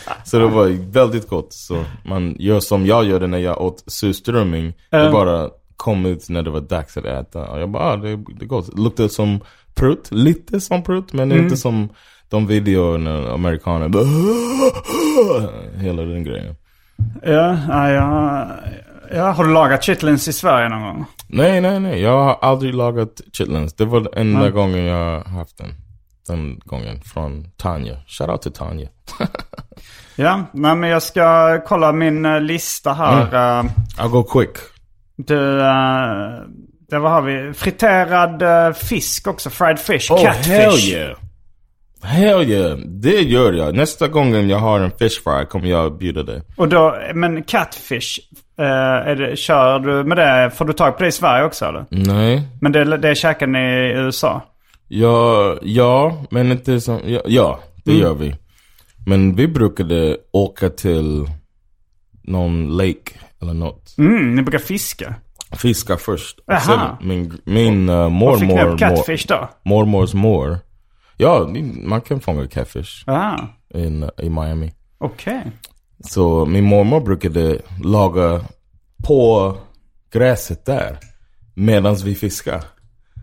så det var väldigt gott. Så man gör som jag gjorde när jag åt surströmming. Det bara kom ut när det var dags att äta. Och jag bara, ah, det, det är gott. Det luktar som prutt. Lite som prutt, men
Mm.
inte som de videorna amerikaner bara, Hela den grejen.
Ja, ja, ja, ja. Har du lagat chitlins i Sverige någon gång?
Nej, nej, nej. Jag har aldrig lagat chitlins. Det var den enda gången jag har haft den. Den gången. Från Tanja. Shoutout till Tanja.
Ja, nej men jag ska kolla min eh, lista här. Eh,
I'll go quick.
Du, eh, där vad har vi? Friterad eh, fisk också. Fried fish. catfish.
Oh, hell yeah. Hell yeah. Det gör jag. Nästa gången jag har en fish fry kommer jag bjuda dig.
Och då, men catfish. eh, är det, kör du med det? Får du tag på det i Sverige också eller?
Nej.
Men det, det käkar ni i USA?
Ja, ja men inte som... Ja, ja det
Mm.
gör vi. Men vi brukade åka till någon lake eller något.
Mm, ni brukar fiska.
Fiska först. Och
Aha.
Sen min min uh,
Vad fick ni
mormor...
upp catfish då?
Mormors mor. Ja, man kan fånga catfish
Ah,
in, i Miami.
okej.
Så min mormor brukade laga på gräset där medan vi fiskar.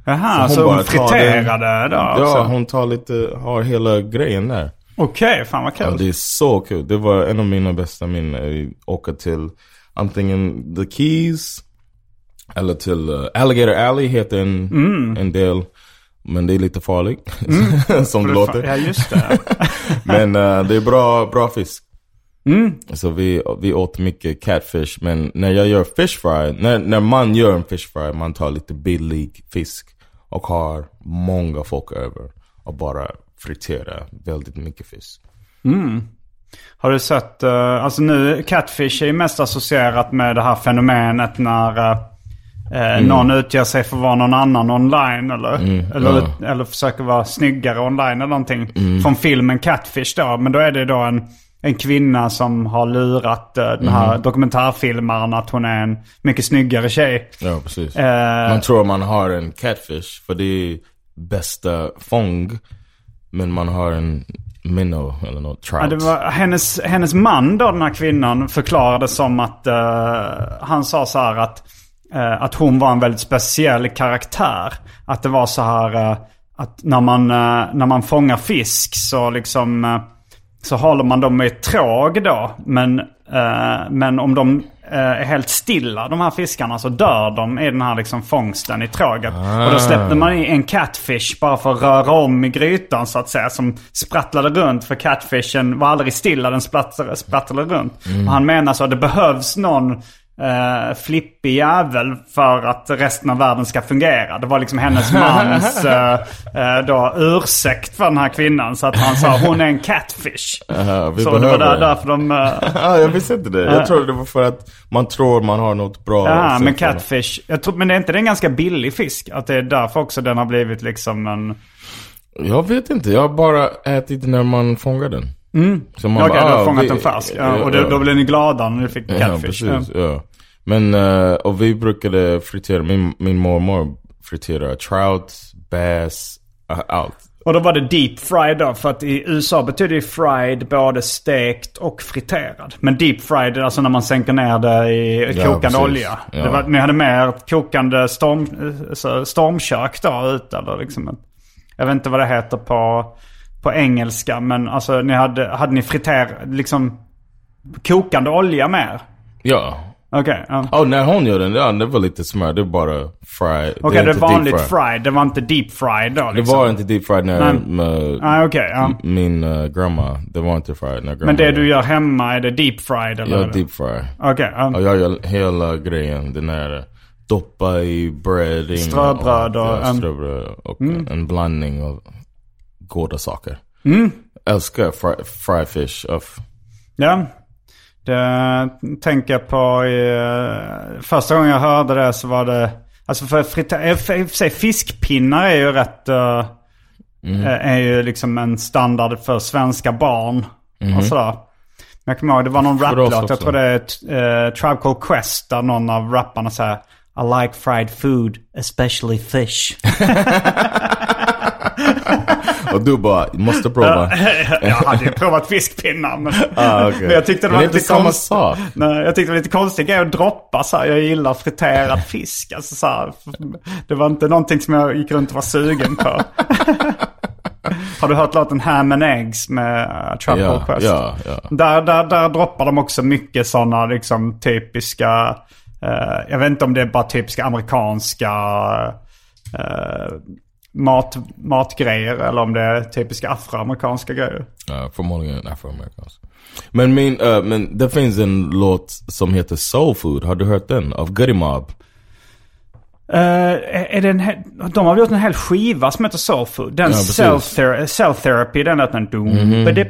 Jaha,
Så
så
hon
hon
bara tar
friterade då
Ja,
också?
hon tar lite, har hela grejen där.
Okej, fan vad
Ja,
kul.
det är så kul. Det var en av mina bästa minnen. att Åka till antingen The Keys eller till eh, Alligator Alley heter en, en del. Men det är lite farligt som det låter.
Ja, just det.
Men eh, det är bra, bra fisk.
Mm.
Så vi, vi åt mycket catfish. Men när jag gör fish fry, när, när man gör en fish fry, man tar lite billig fisk och har många folk över och bara friterar väldigt mycket fisk.
Har du sett, eh, alltså nu, catfish är ju mest associerat med det här fenomenet när eh, eh, någon utger sig för att vara någon annan online eller, eller, eller försöker vara snyggare online eller någonting. Från filmen Catfish då, men då är det då en en kvinna som har lurat eh, den här dokumentärfilmaren att hon är en mycket snyggare tjej.
Ja, precis.
Eh,
Man tror man har en catfish för det är bästa fång. Men man har en minnow eller något trout.
Ja, det var, hennes, hennes man då, den här kvinnan, förklarade som att eh, han sa så här att, eh, att hon var en väldigt speciell karaktär. Att det var så här eh, att när man, eh, när man fångar fisk så liksom eh, så håller man dem i ett tråg då. Men, eh, men om de eh, är helt stilla de här fiskarna så dör de i den här liksom fångsten i tråget. Och då släppte man i en catfish bara för att röra om i grytan så att säga. Som sprattlade runt för catfishen var aldrig stilla, den sprattlade, sprattlade runt.
Mm.
Och han menar så att det behövs någon eh, flippig jävel för att resten av världen ska fungera. Det var liksom hennes mans eh, eh, då, ursäkt för den här kvinnan. Så att han sa hon är en catfish.
Aha, vi
så det var
behöver
där,
en.
därför de... eh,
Ja, Ah, jag visste inte det. Jag trodde det var för att man tror man har något bra.
Ja,
sen
men
får man-
catfish. Jag tror, men det är inte den ganska billig fisk? Att det är därför också den har blivit liksom en...
Jag vet inte. Jag har bara ätit när man fångar den. Så man
Mm. Okej,
bara,
du har
ah,
fångat
vi-
en färsk. Ja,
ja,
och då,
ja.
då blev ni glada när du fick catfish.
Ja, precis. Ja. Men, eh, och vi brukade fritera, min, min mormor friterade trout, bass, eh, allt.
Och då var det deep fried då, för att i USA betyder ju fried både stekt och friterad. Men deep fried är alltså när man sänker ner det i
Ja,
kokande
precis.
olja.
Ja.
Det var, ni hade med er kokande storm, alltså stormkök då ute. Eller liksom ett, jag vet inte vad det heter på, på engelska, men alltså ni hade, hade ni friter, liksom kokande olja med er?
Ja.
Okej, ja.
Ja, när hon gör den, ja, det var lite smör. Det är bara fry.
Okej, det
inte
är vanligt
deep fry.
fried. Det var inte deep fried då
Det
liksom?
var inte deep fried när eh,
Nej, okej. ja.
min uh, grandma, det var inte fried när grandma
Men det du gör hemma, är det deep fried eller?
Jag deep fry.
Okej, ja.
Ja, jag gör hela grejen. Den här doppa i bread.
Ströbröd och-
ja,
mm.
ströbröd och en blandning av goda saker.
Mm.
Älskar fry, fry fish. Of,
Ja. Det tänker jag på i, eh, Första gången jag hörde det så var det... Alltså för frita, i och för i och för sig fiskpinnar är ju rätt... eh,
Mm.
eh, Är ju liksom en standard för svenska barn. Och sådär. Men jag kommer ihåg, det var någon
Mm. För oss
rapplåt. Jag tror
också.
det är uh, Tribe Called Quest där någon av rapparna säger I like fried food, especially fish.
och du bara, måste prova.
jag hade ju provat fiskpinnar men,
Ah, okej.
men jag tyckte det
Men
var
det är inte
lite
samma
konst-
sak.
Nej, jag tyckte det var lite konstigt grej att droppa så här. Jag gillar friterad fisk. Alltså, så här. Det var inte någonting som jag gick runt och var sugen på. Har du hört låten Ham and Eggs med uh, Trouble
ja,
Quest?
ja, ja.
Där, där, där droppar de också mycket sådana liksom typiska, eh, jag vet inte om det är bara typiska amerikanska eh, mat, matgrejer eller om det är typiska afroamerikanska grejer.
Ja, förmodligen afroamerikansk. Men, min, eh, men det finns en låt som heter Soul Food. Har du hört den? Av Goody Mob.
Eh, är är det en he- de har gjort en hel skiva som heter Soul Food. Den
Ja, precis.
self, -thera self Therapy, den låten. Mm -hmm. Den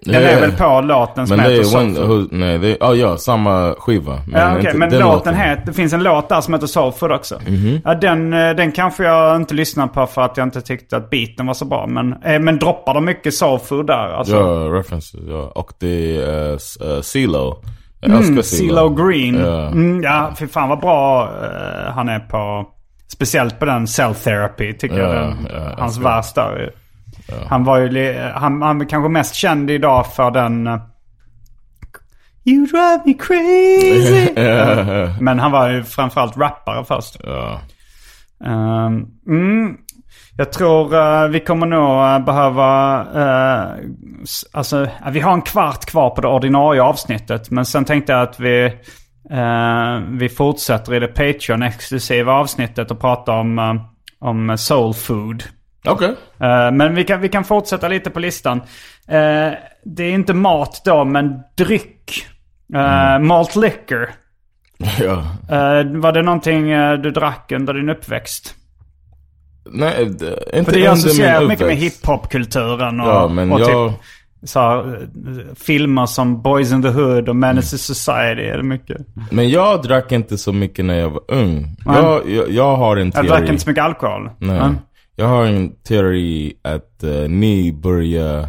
Ja,
är
ja.
väl på låten som
Men det
heter
är
Soul
One...
Food.
Who, nej, det är... Oh, ja, samma skiva. Men,
Ja, okej,
inte-
men
den
låten heter, det finns en låt där som heter Soul Food också.
Mhm.
Ja, den, eh, den kanske jag inte lyssnar på för att jag inte tyckte att beaten var så bra. Men, eh, men droppar de mycket Soul Food där? Alltså,
Ja, references. Ja. Och det är eh, s- eh, CeeLo. Jag
Mm,
älskar CeeLo.
CeeLo Green.
Ja.
Mm, ja, fy fan vad bra eh, han är på... Speciellt på den Cell Therapy tycker jag.
Ja,
Den,
ja, jag
hans
ska-
vers där. ju. Han var ju... li- Han, han är kanske mest känd idag för den... eh, You drive me crazy. Men han var ju framförallt rappare först.
Ja.
Ehm, mm. Jag tror eh, vi kommer nog eh, behöva... eh, s- alltså, eh, vi har en kvart kvar på det ordinarie avsnittet. Men sen tänkte jag att vi, eh, vi fortsätter i det Patreon-exklusiva avsnittet och pratar om, eh, om soul food.
Okej.
Eh, Men vi kan, vi kan fortsätta lite på listan. Eh, Det är inte mat då, men dryck. Eh, Malt liquor.
ja.
Eh, Var det någonting eh, du drack under din uppväxt?
Nej, det, inte
För det är
under
associerat
min
mycket med
uppväxt.
hiphopkulturen och,
Ja, men
och
jag...
typ så här, eh, filmer som Boys in the Hood och Menace to Society. Är det mycket?
Men jag drack inte så mycket när jag var ung. Jag, jag, jag har en
Jag
teori.
drack inte så mycket alkohol.
Nej.
Men,
Jag har en teori att eh, ni börjar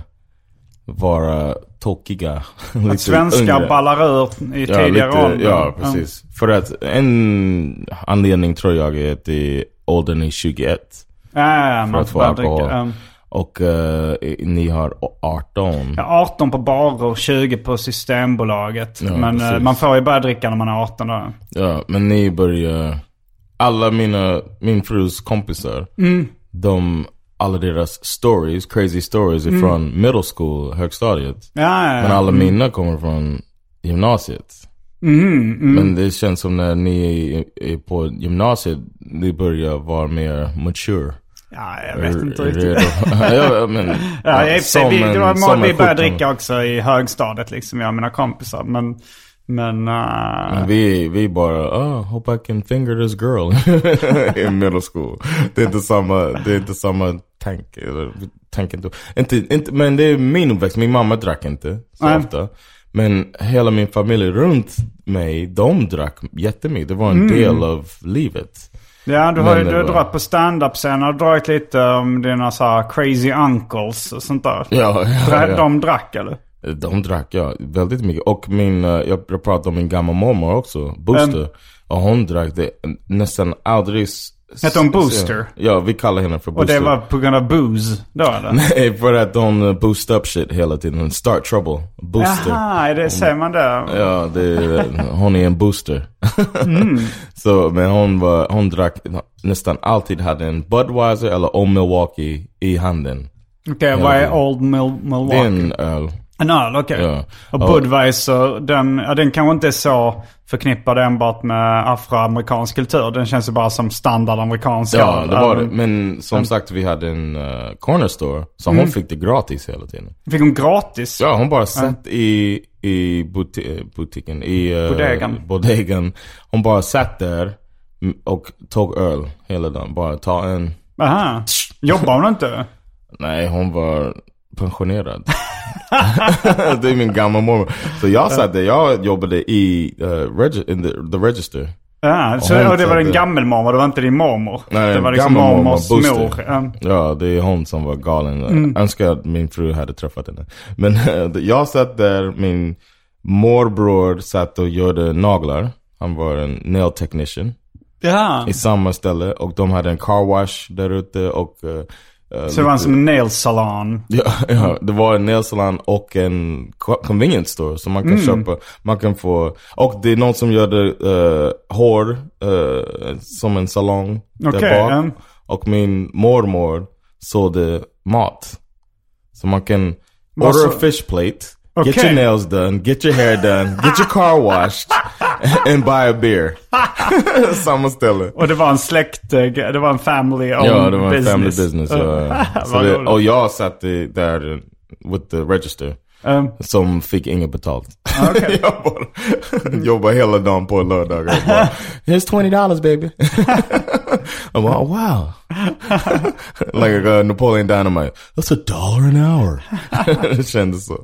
vara tokiga.
Att svenskar ballar ur i tidigare ålder.
Ja, precis. För att en anledning tror jag är att det är åldern är 21.
Ja, ja, ja,
För
man
att
får
få
bara dricka.
alkohol.
ja.
Och eh, ni har 18.
Ja, 18 på barer, 20 på Systembolaget.
Ja,
men eh,
precis.
man får ju börja dricka när man är 18 då.
Ja, men ni börjar... Alla mina, min frus kompisar,
Mm.
de, alla deras stories, crazy stories ifrån middle school, högstadiet.
Mm. Ja, Mm.
Men
ja.
alla mina kommer från gymnasiet.
Mm-hmm,
Men det känns som när ni är, är på gymnasiet, ni börjar vara mer mature.
ja jag vet inte
Är- är
riktigt.
redo. ja, men,
Ja, i och för sig,
som
vi,
en-
det var
som en
mål, vi började
17.
dricka också i högstadiet liksom, jag och mina kompisar. Men, men, eh,
Men vi, vi bara, oh, hope I can finger this girl i middle school. Det är inte samma, det är inte samma tanke. eller tanke inte, inte, inte, men det är min uppväxt, min mamma drack inte så
Nej.
ofta. Men hela min familj runt mig, de drack jättemycket. Det var
Mm.
en del av livet.
ja, du har ju
men eh, det
du har
var-
dragit på stand-up sen och dragit lite om dina så här crazy uncles och sånt där.
Ja, ja, ja.
De drack eller?
De drack jag väldigt mycket. Och min, eh, jag, jag pratade om min gamla mormor också, Booster. och hon drack det nästan aldrig. s-
Hette hon
s-
Booster?
Ja, vi kallar henne för Booster.
Och det var på grund av booze då eller?
Nej, för att de eh, boost up shit hela tiden. Start trouble. Booster.
Jaha, är det, säger man det?
Ja, det, är- hon är en booster. Mm. Så, men hon, var, hon drack nästan alltid hade en Budweiser eller Old Milwaukee i handen.
Okej, vad är
Ja, det-
Old Mil-
Det
Milwaukee?
är en öl.
En öl, okej.
Ja.
Och
Ja.
Budweiser, den, ja, den kanske inte är så förknippad enbart med afroamerikansk kultur. Den känns ju bara som standard amerikansk
Ja, um,
öl. Ehm,
det var det.
Även-
Men som sagt, vi hade en eh, corner store. Så hon fick det gratis hela tiden.
Fick hon gratis?
Mm. Ja, hon bara satt i, i buti- eh, butiken, i eh,
Bodegan.
bodegan. Hon bara satt där mm, och tog öl hela dagen. Bara ta en.
Aha. Jobbar hon inte?
Nej, hon var pensionerad. det är min gamla mormor. Så jag satt där, jag jobbade i eh, regi- in the, the register.
Ja, så,
Och hon
och det var
satt
en
där.
gammelmormor, det var inte din mormor?
Nej,
det var liksom
gammelmormor,
mormors
booster.
mor. Ja.
Ja, det är hon som var galen. Jag önskar att min fru hade träffat henne. Men eh, jag satt där, min morbror satt och gjorde naglar. Han var en nail technician.
Ja.
i samma ställe och de hade en car wash där ute och eh, eh,
Så det var som en nail salon.
ja, ja, det var en nailsalon och en co- convenience store som man kan
Mm.
köpa, man kan få och det är någon som gör det eh, hår eh, som en salong
Okej,
där bak
mm.
och min mormor sålde mat. Så man kan
Vad
order a
så-
fish plate, get
Okej.
your nails done, get your hair done, get your car washed and buy a beer. samma ställe.
Och det var en släkt, eh, det var en family owned
Ja, det var en
business. Eh,
family business. ja. Så
Vad
det,
roligt.
och jag satt i- där eh, with the register.
Ehm,
Som fick inget betalt. jag bara jobbade hela dagen på lördagar. och bara, Here's 20 dollars baby. I'm like, oh, wow. like uh, Napoleon Dynamite. That's a dollar an hour. det kändes så.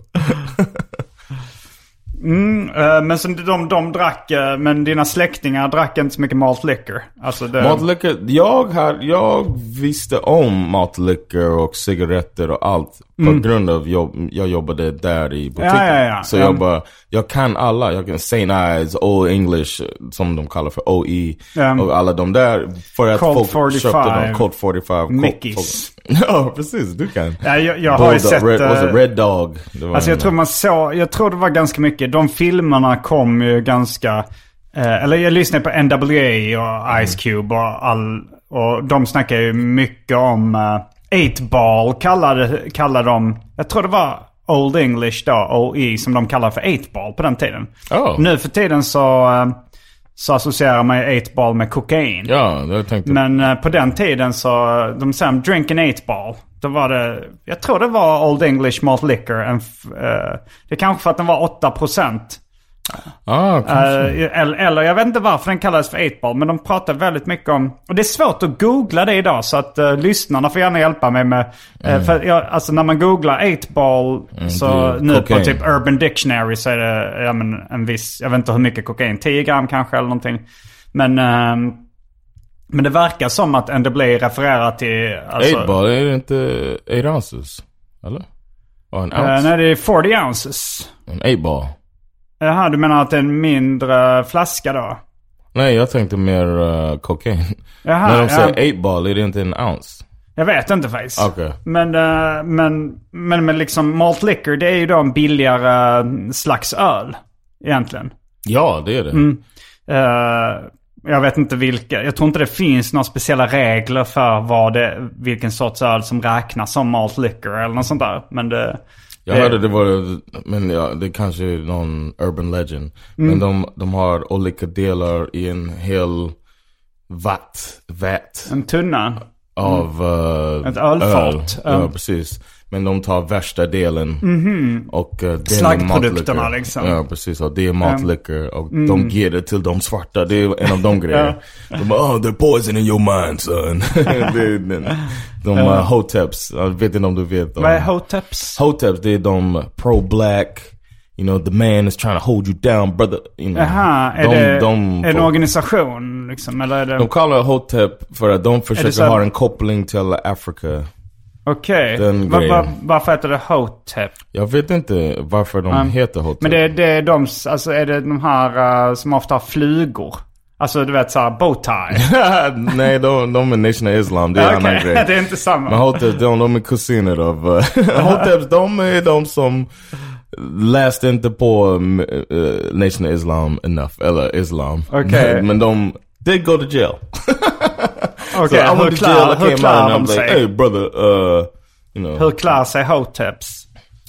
Eh, Men så de, de drack, eh, men dina släktingar drack inte så mycket malt liquor. Alltså det,
Matliquor, jag, har, jag visste om matliquor och cigaretter och allt på grund av jobb, jag jobbade där i butiken.
Mm. Ja, ja, ja.
Så
Ja.
jag bara, jag kan alla. Jag kan St. Ives, Old English, som de kallar för OE.
Ja.
Och alla de där. För att
Colt
folk
45,
köpte dem. Colt 45. Colt-
Mickey's.
Ja, precis. Du kan.
Ja, jag- jag har ju
Bulldog,
sett,
Red,
eh,
was it Red Dog. Det var
alltså jag
en-
tror man såg, jag tror det var ganska mycket. De filmerna kom ju ganska, eh, eller jag lyssnade på NWA och Ice Cube och all, och de snackar ju mycket om eh, 8-ball kallade, kallade de, jag tror det var Old English då, OE, som de kallade för 8-ball på den tiden.
Oh.
Nu för tiden så, eh, så associerar man ju 8-ball med kokain.
Ja, jag tänkte.
Men eh, på den tiden så, eh, de sa om drink an eight ball. Då var det, jag tror det var Old English Malt Liquor. En, f- eh, det kanske för att den var 8%.
ah,
Eh,
kanske.
eller, eller jag vet inte varför den kallades för 8 ball. Men de pratade väldigt mycket om, och det är svårt att googla det idag. Så att eh, lyssnarna får gärna hjälpa mig med. eh, för jag, alltså när man googlar 8 ball så
det är
nu på
kokain.
typ Urban Dictionary så är det ja, men en viss, jag vet inte hur mycket kokain, 10 gram kanske eller någonting. Men, ehm, men det verkar som att NWA refererar till... Alltså,
Eightball, är det inte Eight Ounces? Eller? Och en
Eh,
ounce?
nej, det är 40 ounces.
En eight ball?
Jaha, du menar att det är en mindre flaska då?
Nej, jag tänkte mer uh, cocaine.
Jaha,
När de
ja.
säger eight ball är det inte en ounce.
Jag vet inte faktiskt.
Okej.
Men, eh, men, men, men liksom malt liquor det är ju då en billigare eh, slags öl egentligen.
Ja, det är det.
Mm. Eh, jag vet inte vilka. Jag tror inte det finns några speciella regler för vad det, vilken sorts öl som räknas som malt liquor eller något sånt där. Men det...
Jag
det-
hörde det var, men ja, det kanske är någon urban legend.
Mm.
Men de, de har olika delar i en hel vatt, vät
En tunna.
av eh,
Mm. Ett ölfat.
öl. Ja,
Ja.
precis. Men de tar värsta delen. Och uh,
Slaggprodukterna, Mm-hmm. liksom. Mm.
Ja, precis. Och det är matliquor. Och de ger det till de svarta. Det är en av de grejerna. De bara, oh, they're poison in your mind son. det är den. De uh, hoteps. Jag vet inte om du vet. om-
Vad är hoteps?
Hoteps, they them pro black. You know, the man is trying to hold you down, brother. You know,
Jaha, är
de,
det
de,
en organisation liksom? Eller är det...
de kallar det Hotep för att de försöker
så här-
ha en koppling till Afrika.
Okej.
den
Va- va-
grejen.
varför heter det hotep?
Jag vet inte varför de heter Hotep.
Men det, det är de, alltså är det de här eh, som ofta har flugor? Alltså du vet såhär bowtie.
Nej, de, de är Nation of Islam. Det är en
Okej,
annan grej.
det är inte samma.
Men Hoteps, de, de är kusiner av... eh, Hoteps, de är de som läste inte på mm, eh, Nation of Islam enough, eller Islam.
Okej.
Men, men de did go to jail.
Okej,
so I went
hur
to jail,
klär,
I
hur
came
klär
out and
de
I'm like,
sig?
hey brother, uh, you know.
Hur klär sig hoteps?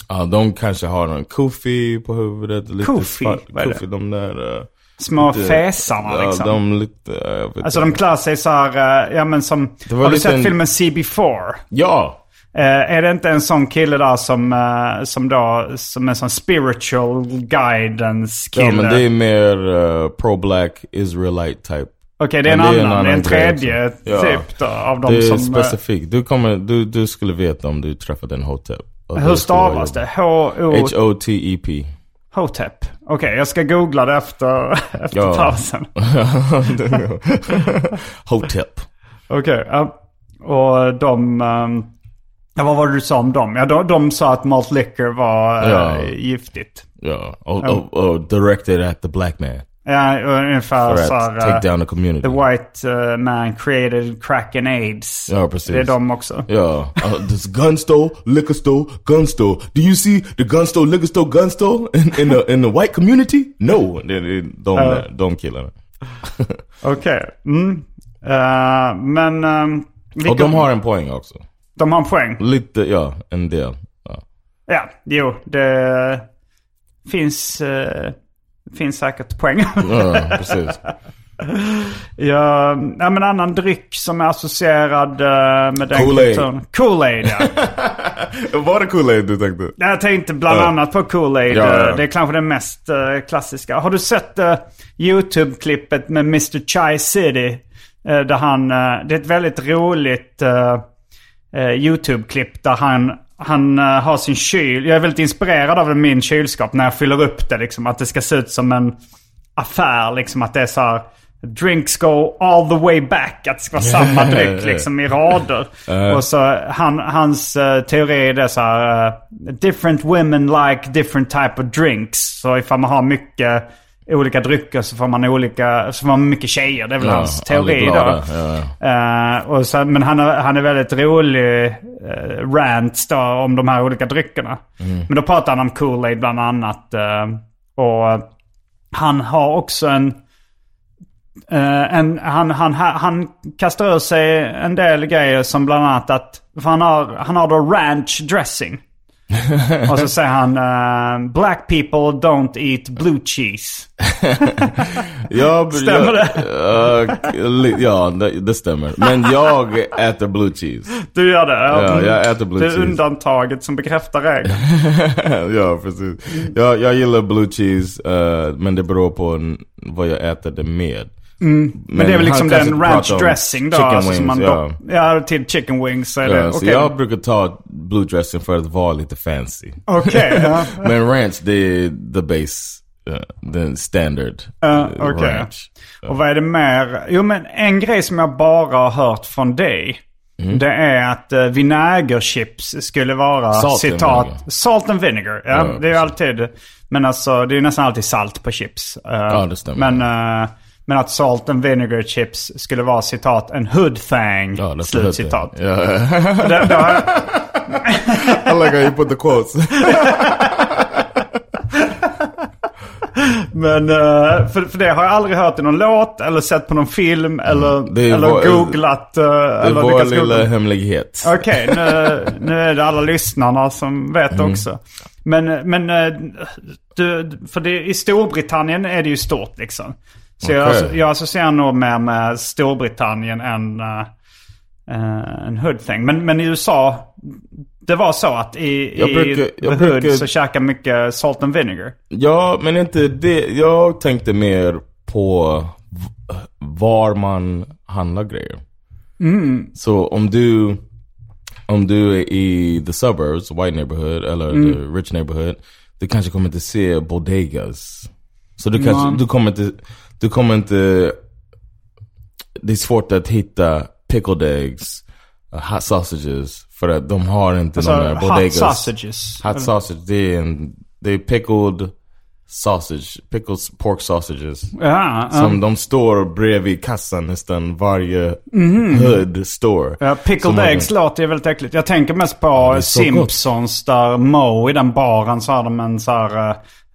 Ja, de kanske har en kufi på huvudet. Lite
Kufi?
svart-
Vad är det?
kufi, de där... eh,
Små
lite-
fesarna liksom.
Ja, de lite... eh, jag vet
Alltså
inte.
de klär sig såhär, ja men som...
Det var
Har du
lite
sett
en-
filmen CB4?
Ja!
Eh, är det inte en sån kille där som, eh, som då, som en sån spiritual guidance kille?
Ja men det är mer eh, pro-black Israelite type.
Okej, det är en
men
annan. Det är en
grej
tredje
också. Ja.
typ då, av de
det är
som... eh,
specifikt. Du, kommer, du, du skulle veta om du träffade en hotep. Och
Hur
det skulle vara
stavas det?
jobbigt.
H-O...
H-O-T-E-P.
Hotep. E Okej, jag ska googla det efter, efter
Ja.
pausen.
hotep.
Okej, ja. och de... ehm, ja, vad var det du sa om dem? Ja, de, de sa att malt liquor var eh,
Ja.
giftigt.
Ja, och, och, och directed at the black man.
Ja, ungefär
För
så
att
här... eh,
take down the community.
The white eh, man created crack and aids.
Ja, precis.
Det är de också.
Ja, uh, this gun store, liquor store, gun store. Do you see the gun store, liquor store, gun store in, in, the, in the white community? No! Det är de,
Ja.
de killarna.
Okej. Mm. Eh, men... ehm, vilka-
Och de har en poäng också.
de har en poäng.
Lite, ja, en del. Ja.
Ja, jo. Det finns, eh, finns säkert poäng.
Ja, precis.
ja, ja, men annan dryck som är associerad eh, med den
Kool-Aid.
kulturen. Kool-Aid. ja.
Var det Kool-Aid du tänkte?
Jag tänkte bland
Ja.
annat på Kool-Aid.
Ja, ja.
Eh, Det är kanske den mest eh, klassiska. Har du sett eh, YouTube-klippet med Mr. Chai City? Eh, där han, eh, det är ett väldigt roligt eh, eh, YouTube-klipp där han, han eh, har sin kyl. Jag är väldigt inspirerad av min kylskåp när jag fyller upp det. Liksom, att det ska se ut som en affär. Liksom, att det är så här, drinks go all the way back. Att det ska vara samma dryck liksom, i rader.
Eh.
Och så han, hans eh, teori är det så här, eh, different women like different type of drinks. Så ifall man har mycket olika drycker så får man olika, så får man mycket tjejer. Det är väl
Ja,
hans teori
aldrig
då.
glada, ja, ja.
Eh, och sen, men han, har- han är väldigt rolig eh, rant då, om de här olika dryckerna.
Mm.
Men då pratar han om Kool-Aid bland annat. eh, och han har också en... eh, en han, han, han, han kastar ur sig en del grejer som bland annat att... För han har, han har då ranch dressing. och så säger han eh, Black people don't eat blue cheese.
Ja, b-
Stämmer
jag, eh, li- ja, det, det stämmer. Men jag äter blue cheese.
Du gör det?
Ja, jag äter blue
Det är
cheese.
undantaget som bekräftar regeln.
ja, precis. Jag, jag gillar blue cheese, eh, men det beror på n- vad jag äter det med. Men,
Men det är väl liksom
han kanske
den
pratar
ranch
om
dressing då?
Chicken
alltså, som
wings,
man
ja.
dopp- ja, till chicken wings så är det
Ja,
okej.
så jag brukar ta blue dressing för att vara lite fancy.
Okej, ja.
Men ranch, det är the base, uh, den standard
Ja,
eh,
okej.
ranch.
Och vad är det mer? Jo men en grej som jag bara har hört från dig.
Mm.
Det är att eh, vinägerchips skulle vara
Salt and
citat...
vinegar.
Salt and vinegar. Ja,
Ja,
det är ju alltid... Men alltså det är ju nästan alltid salt på chips. Eh,
Ja, det stämmer.
Men, eh, men att salt and vinegar chips skulle vara citat en hood thing.
Ja, det
slut citat.
Yeah.
Det- det har-
I like how you put the quotes.
Men eh, för, för det har jag aldrig hört i någon låt eller sett på någon film eller,
Mm. Det är
eller
vår-
googlat. eh,
Det är
eller
vår
lyckats
lilla
googla.
hemlighet.
Okej, nu, nu är det alla lyssnarna som vet
Mm.
också. Men, men eh, du, för det, i Storbritannien är det ju stort liksom. Så jag,
Okej.
asso- jag associerar nog mer med Storbritannien än eh, eh, en hood thing. Men, men i USA, det var så att i,
Jag
i
brukar- jag
the hood
brukar-
så käkar mycket salt and vinegar.
Ja, men inte det. Jag tänkte mer på v- var man handlar grejer.
Mm.
Så om du, om du är i the suburbs, white neighborhood eller
Mm.
the rich neighborhood. Du kanske kommer inte se bodegas. Så du, kanske, du kommer inte, du kommer inte, det är svårt att hitta pickled eggs, uh, hot sausages. För att de har inte
Alltså,
de där
hot
bodegas.
sausages.
Hot sausage, det är, en, det är pickled sausage, pickled pork sausages.
Ja, ja.
Som de står bredvid kassan nästan varje hood store.
Mhm. Ja,
Som
pickled
man-
eggs låter ju väldigt äckligt. Jag tänker mest på
det är så
Simpsons där Mo i den baren så hade de en så här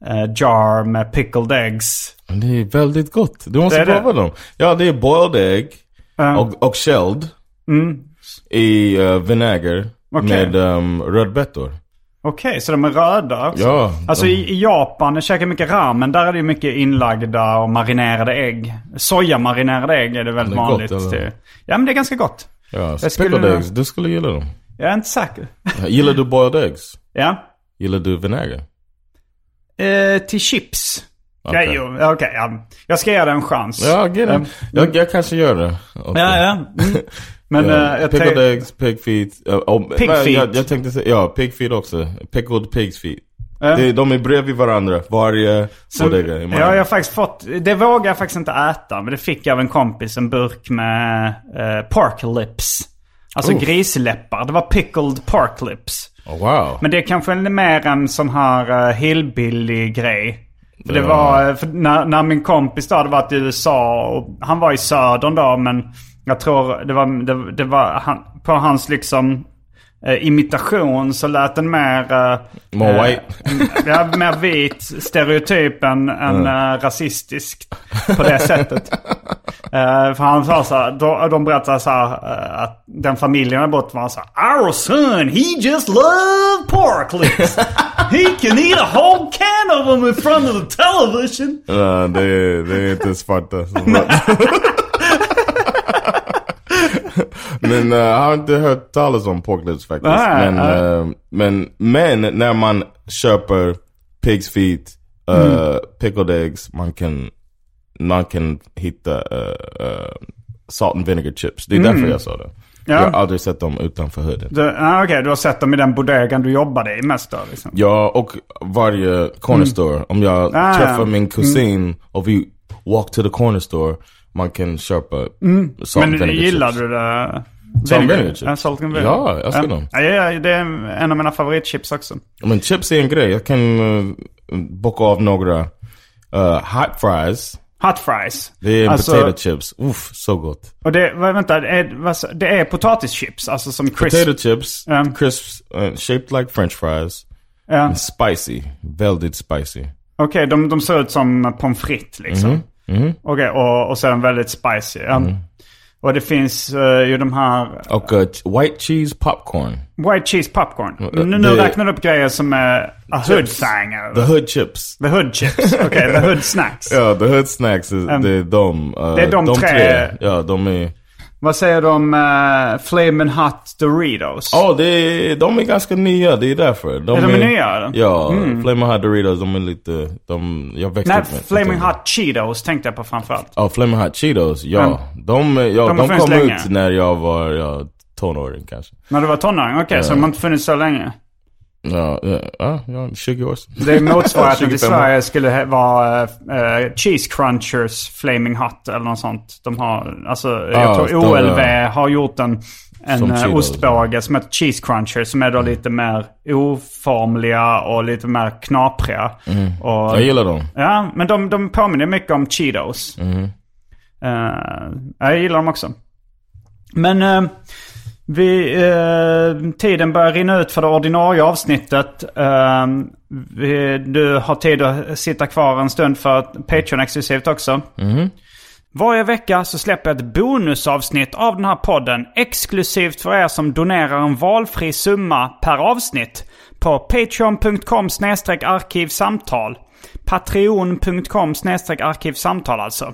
eh, jar med pickled eggs.
Det är väldigt gott. Du
Det
måste
är det.
prova dem. Ja, det är boiled egg och, och shelled. I uh, vinäger
Mm. Okej.
med um, rödbetor.
Okej, så de är röda. också.
Ja,
Alltså
de-
i, i Japan, jag käkar mycket ramen, där är det ju mycket inlagda och marinerade ägg. Sojamarinerade ägg är det väldigt
Det är gott,
vanligt.
eller?
till. Ja men det är ganska gott.
Ja,
Jag skulle
pickled
vilja-
eggs, du skulle gilla dem.
Jag är inte säker.
Gillar du boiled eggs?
Ja.
Gillar du vinäger?
Eh, till chips.
Okej.
Ja, jo, okej. ja. Jag ska ge det en chans.
Ja, get it. jag, jag kanske gör det. också.
Ja, ja. Mm. Men eh, jag
pickled
tänk-
eggs, pig feet. eh, och-
Pig
nej,
feet.
Jag, jag tänkte säga, ja, pig feet också. Pickled pigs feet.
Ja.
Det, de är bredvid varandra, varje
Så,
bodega i
ja,
Malmö.
jag har faktiskt fått, det vågar jag faktiskt inte äta. Men det fick jag av en kompis, en burk med eh, pork lips. Alltså
Oh.
grisläppar. Det var pickled pork lips.
Oh, wow.
Men det är kanske är mer en sån här uh, hillbilly grej. För det
Ja.
var, eh, för när, när min kompis då hade varit i USA och han var i södern då men jag tror det var, det, det var han, på hans liksom eh, imitation så lät den mer... eh,
More
eh,
white. Mm.
ja, mer vit stereotyp än, än eh, rasistisk på det sättet. Eh, för han sa så här, de, de berättade så här eh, att den familjen hade bott var han så här, Our son, he just loved pork lips. He can eat a whole can of them in front of the television.
Ja, det, är- det är inte alltså. svarta. som- men eh, jag har inte hört talas om porklets faktiskt.
Nej,
men,
nej.
eh, men, men när man köper pigs feet, eh,
Mm.
pickled eggs, man kan, man kan hitta eh, eh, salt and vinegar chips. Det är
Mm.
därför jag sa det. Jag har aldrig sett dem utanför hooden.
Du, ah, Okej, du har sett dem i den bodegan du jobbade i mest då liksom.
Ja, och varje corner store. Om jag
Mm. Ah,
träffar
ja.
min kusin och vi walk to the corner store, man kan köpa salt and
Mm. Men
vinegar
gillar
chips.
du det?
Salt and
Vinegar?
vinegar chips.
Ja, salt and vinegar.
Ja, jag älskar
Ja.
dem.
Ja, ja, det är en av mina favoritchips också.
Men chips är en grej. Jag kan eh, bocka av några eh, hot fries.
Hot fries.
Det är
Alltså-
potato chips. Uff, så gott.
Och det, vad- vänta, det är, vad sa- det är potatischips, alltså som crisp.
Potato chips,
Ja.
crisps, eh, shaped like french fries.
Ja.
And spicy, väldigt spicy.
Okej, de, de ser ut som pommes frites liksom.
Mhm,
Okej, och, och så är de väldigt spicy. Ja. Och det finns eh, ju de här
Och eh, white cheese popcorn.
white cheese popcorn. nu nu
Mm, eh, det-
räknar du upp grejer som är a hood thang. eller-
The hood chips.
The hood chips. Okej, the hood snacks.
Ja, the hood snacks, is, det är de. eh,
det är de tre.
Ja, de är...
Vad säger du om uh, Flamin' Hot Doritos?
Ja, det är, de är ganska nya, det är därför. De
Är de nya, eller? Mm.
Ja, Flaming Hot Doritos, de är lite... De, jag växte
Nej,
upp med
Flamin' Hot Cheetos tänkte jag på framförallt.
Ja, Flaming Hot Cheetos, ja. De, är- ja,
De har
de,
funnits
kom
länge.
ut när jag var ja, tonåring kanske.
När du var tonåring? Okej, så de har inte funnits så länge.
Ja, ja, ja, ja 20 år sedan.
Det är motsvarigheten i
25
Sverige skulle he- vara eh, Cheese Crunchers Flaming Hot eller något sånt. De har, alltså,
Ah,
jag tror
de,
OLV
ja.
har gjort en en
Som
eh,
cheetos.
ostbåge som heter Cheese Cruncher som är då lite mer oformliga och lite mer knapriga. Och,
Mm. Jag gillar dem.
Ja, men de, de påminner mycket om Cheetos. Eh, jag gillar dem också. Men eh, vi, eh, tiden börjar rinna ut för det ordinarie avsnittet. Eh, vi, du har tid att sitta kvar en stund för Patreon exklusivt också. Varje vecka så släpper jag ett bonusavsnitt av den här podden exklusivt för er som donerar en valfri summa per avsnitt på patreon.com arkivsamtal. Patreon.com arkivsamtal alltså.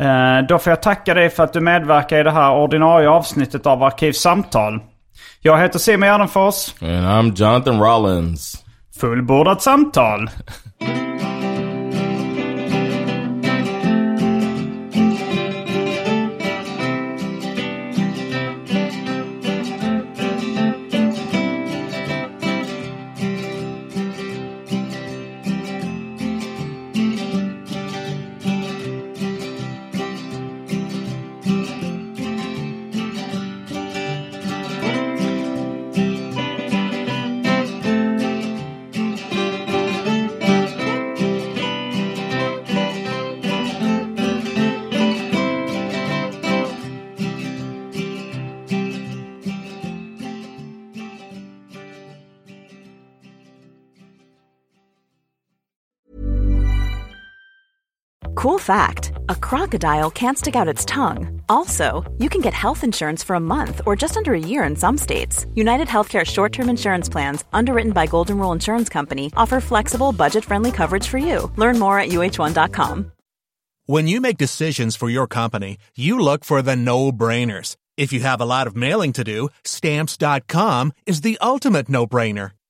Eh, då får jag tacka dig för att du medverkar i det här ordinarie avsnittet av Arkivsamtal. Jag heter Simon Gärdenfors.
And I'm Jonathan Rollins.
Fullbordat samtal!
Cool fact a crocodile can't stick out its tongue. Also, you can get health insurance for a month or just under a year in some states. United Healthcare short term insurance plans, underwritten by Golden Rule Insurance Company, offer flexible, budget friendly coverage for you. Learn more at uh1.com.
When you make decisions for your company, you look for the no brainers. If you have a lot of mailing to do, stamps.com is the ultimate no brainer.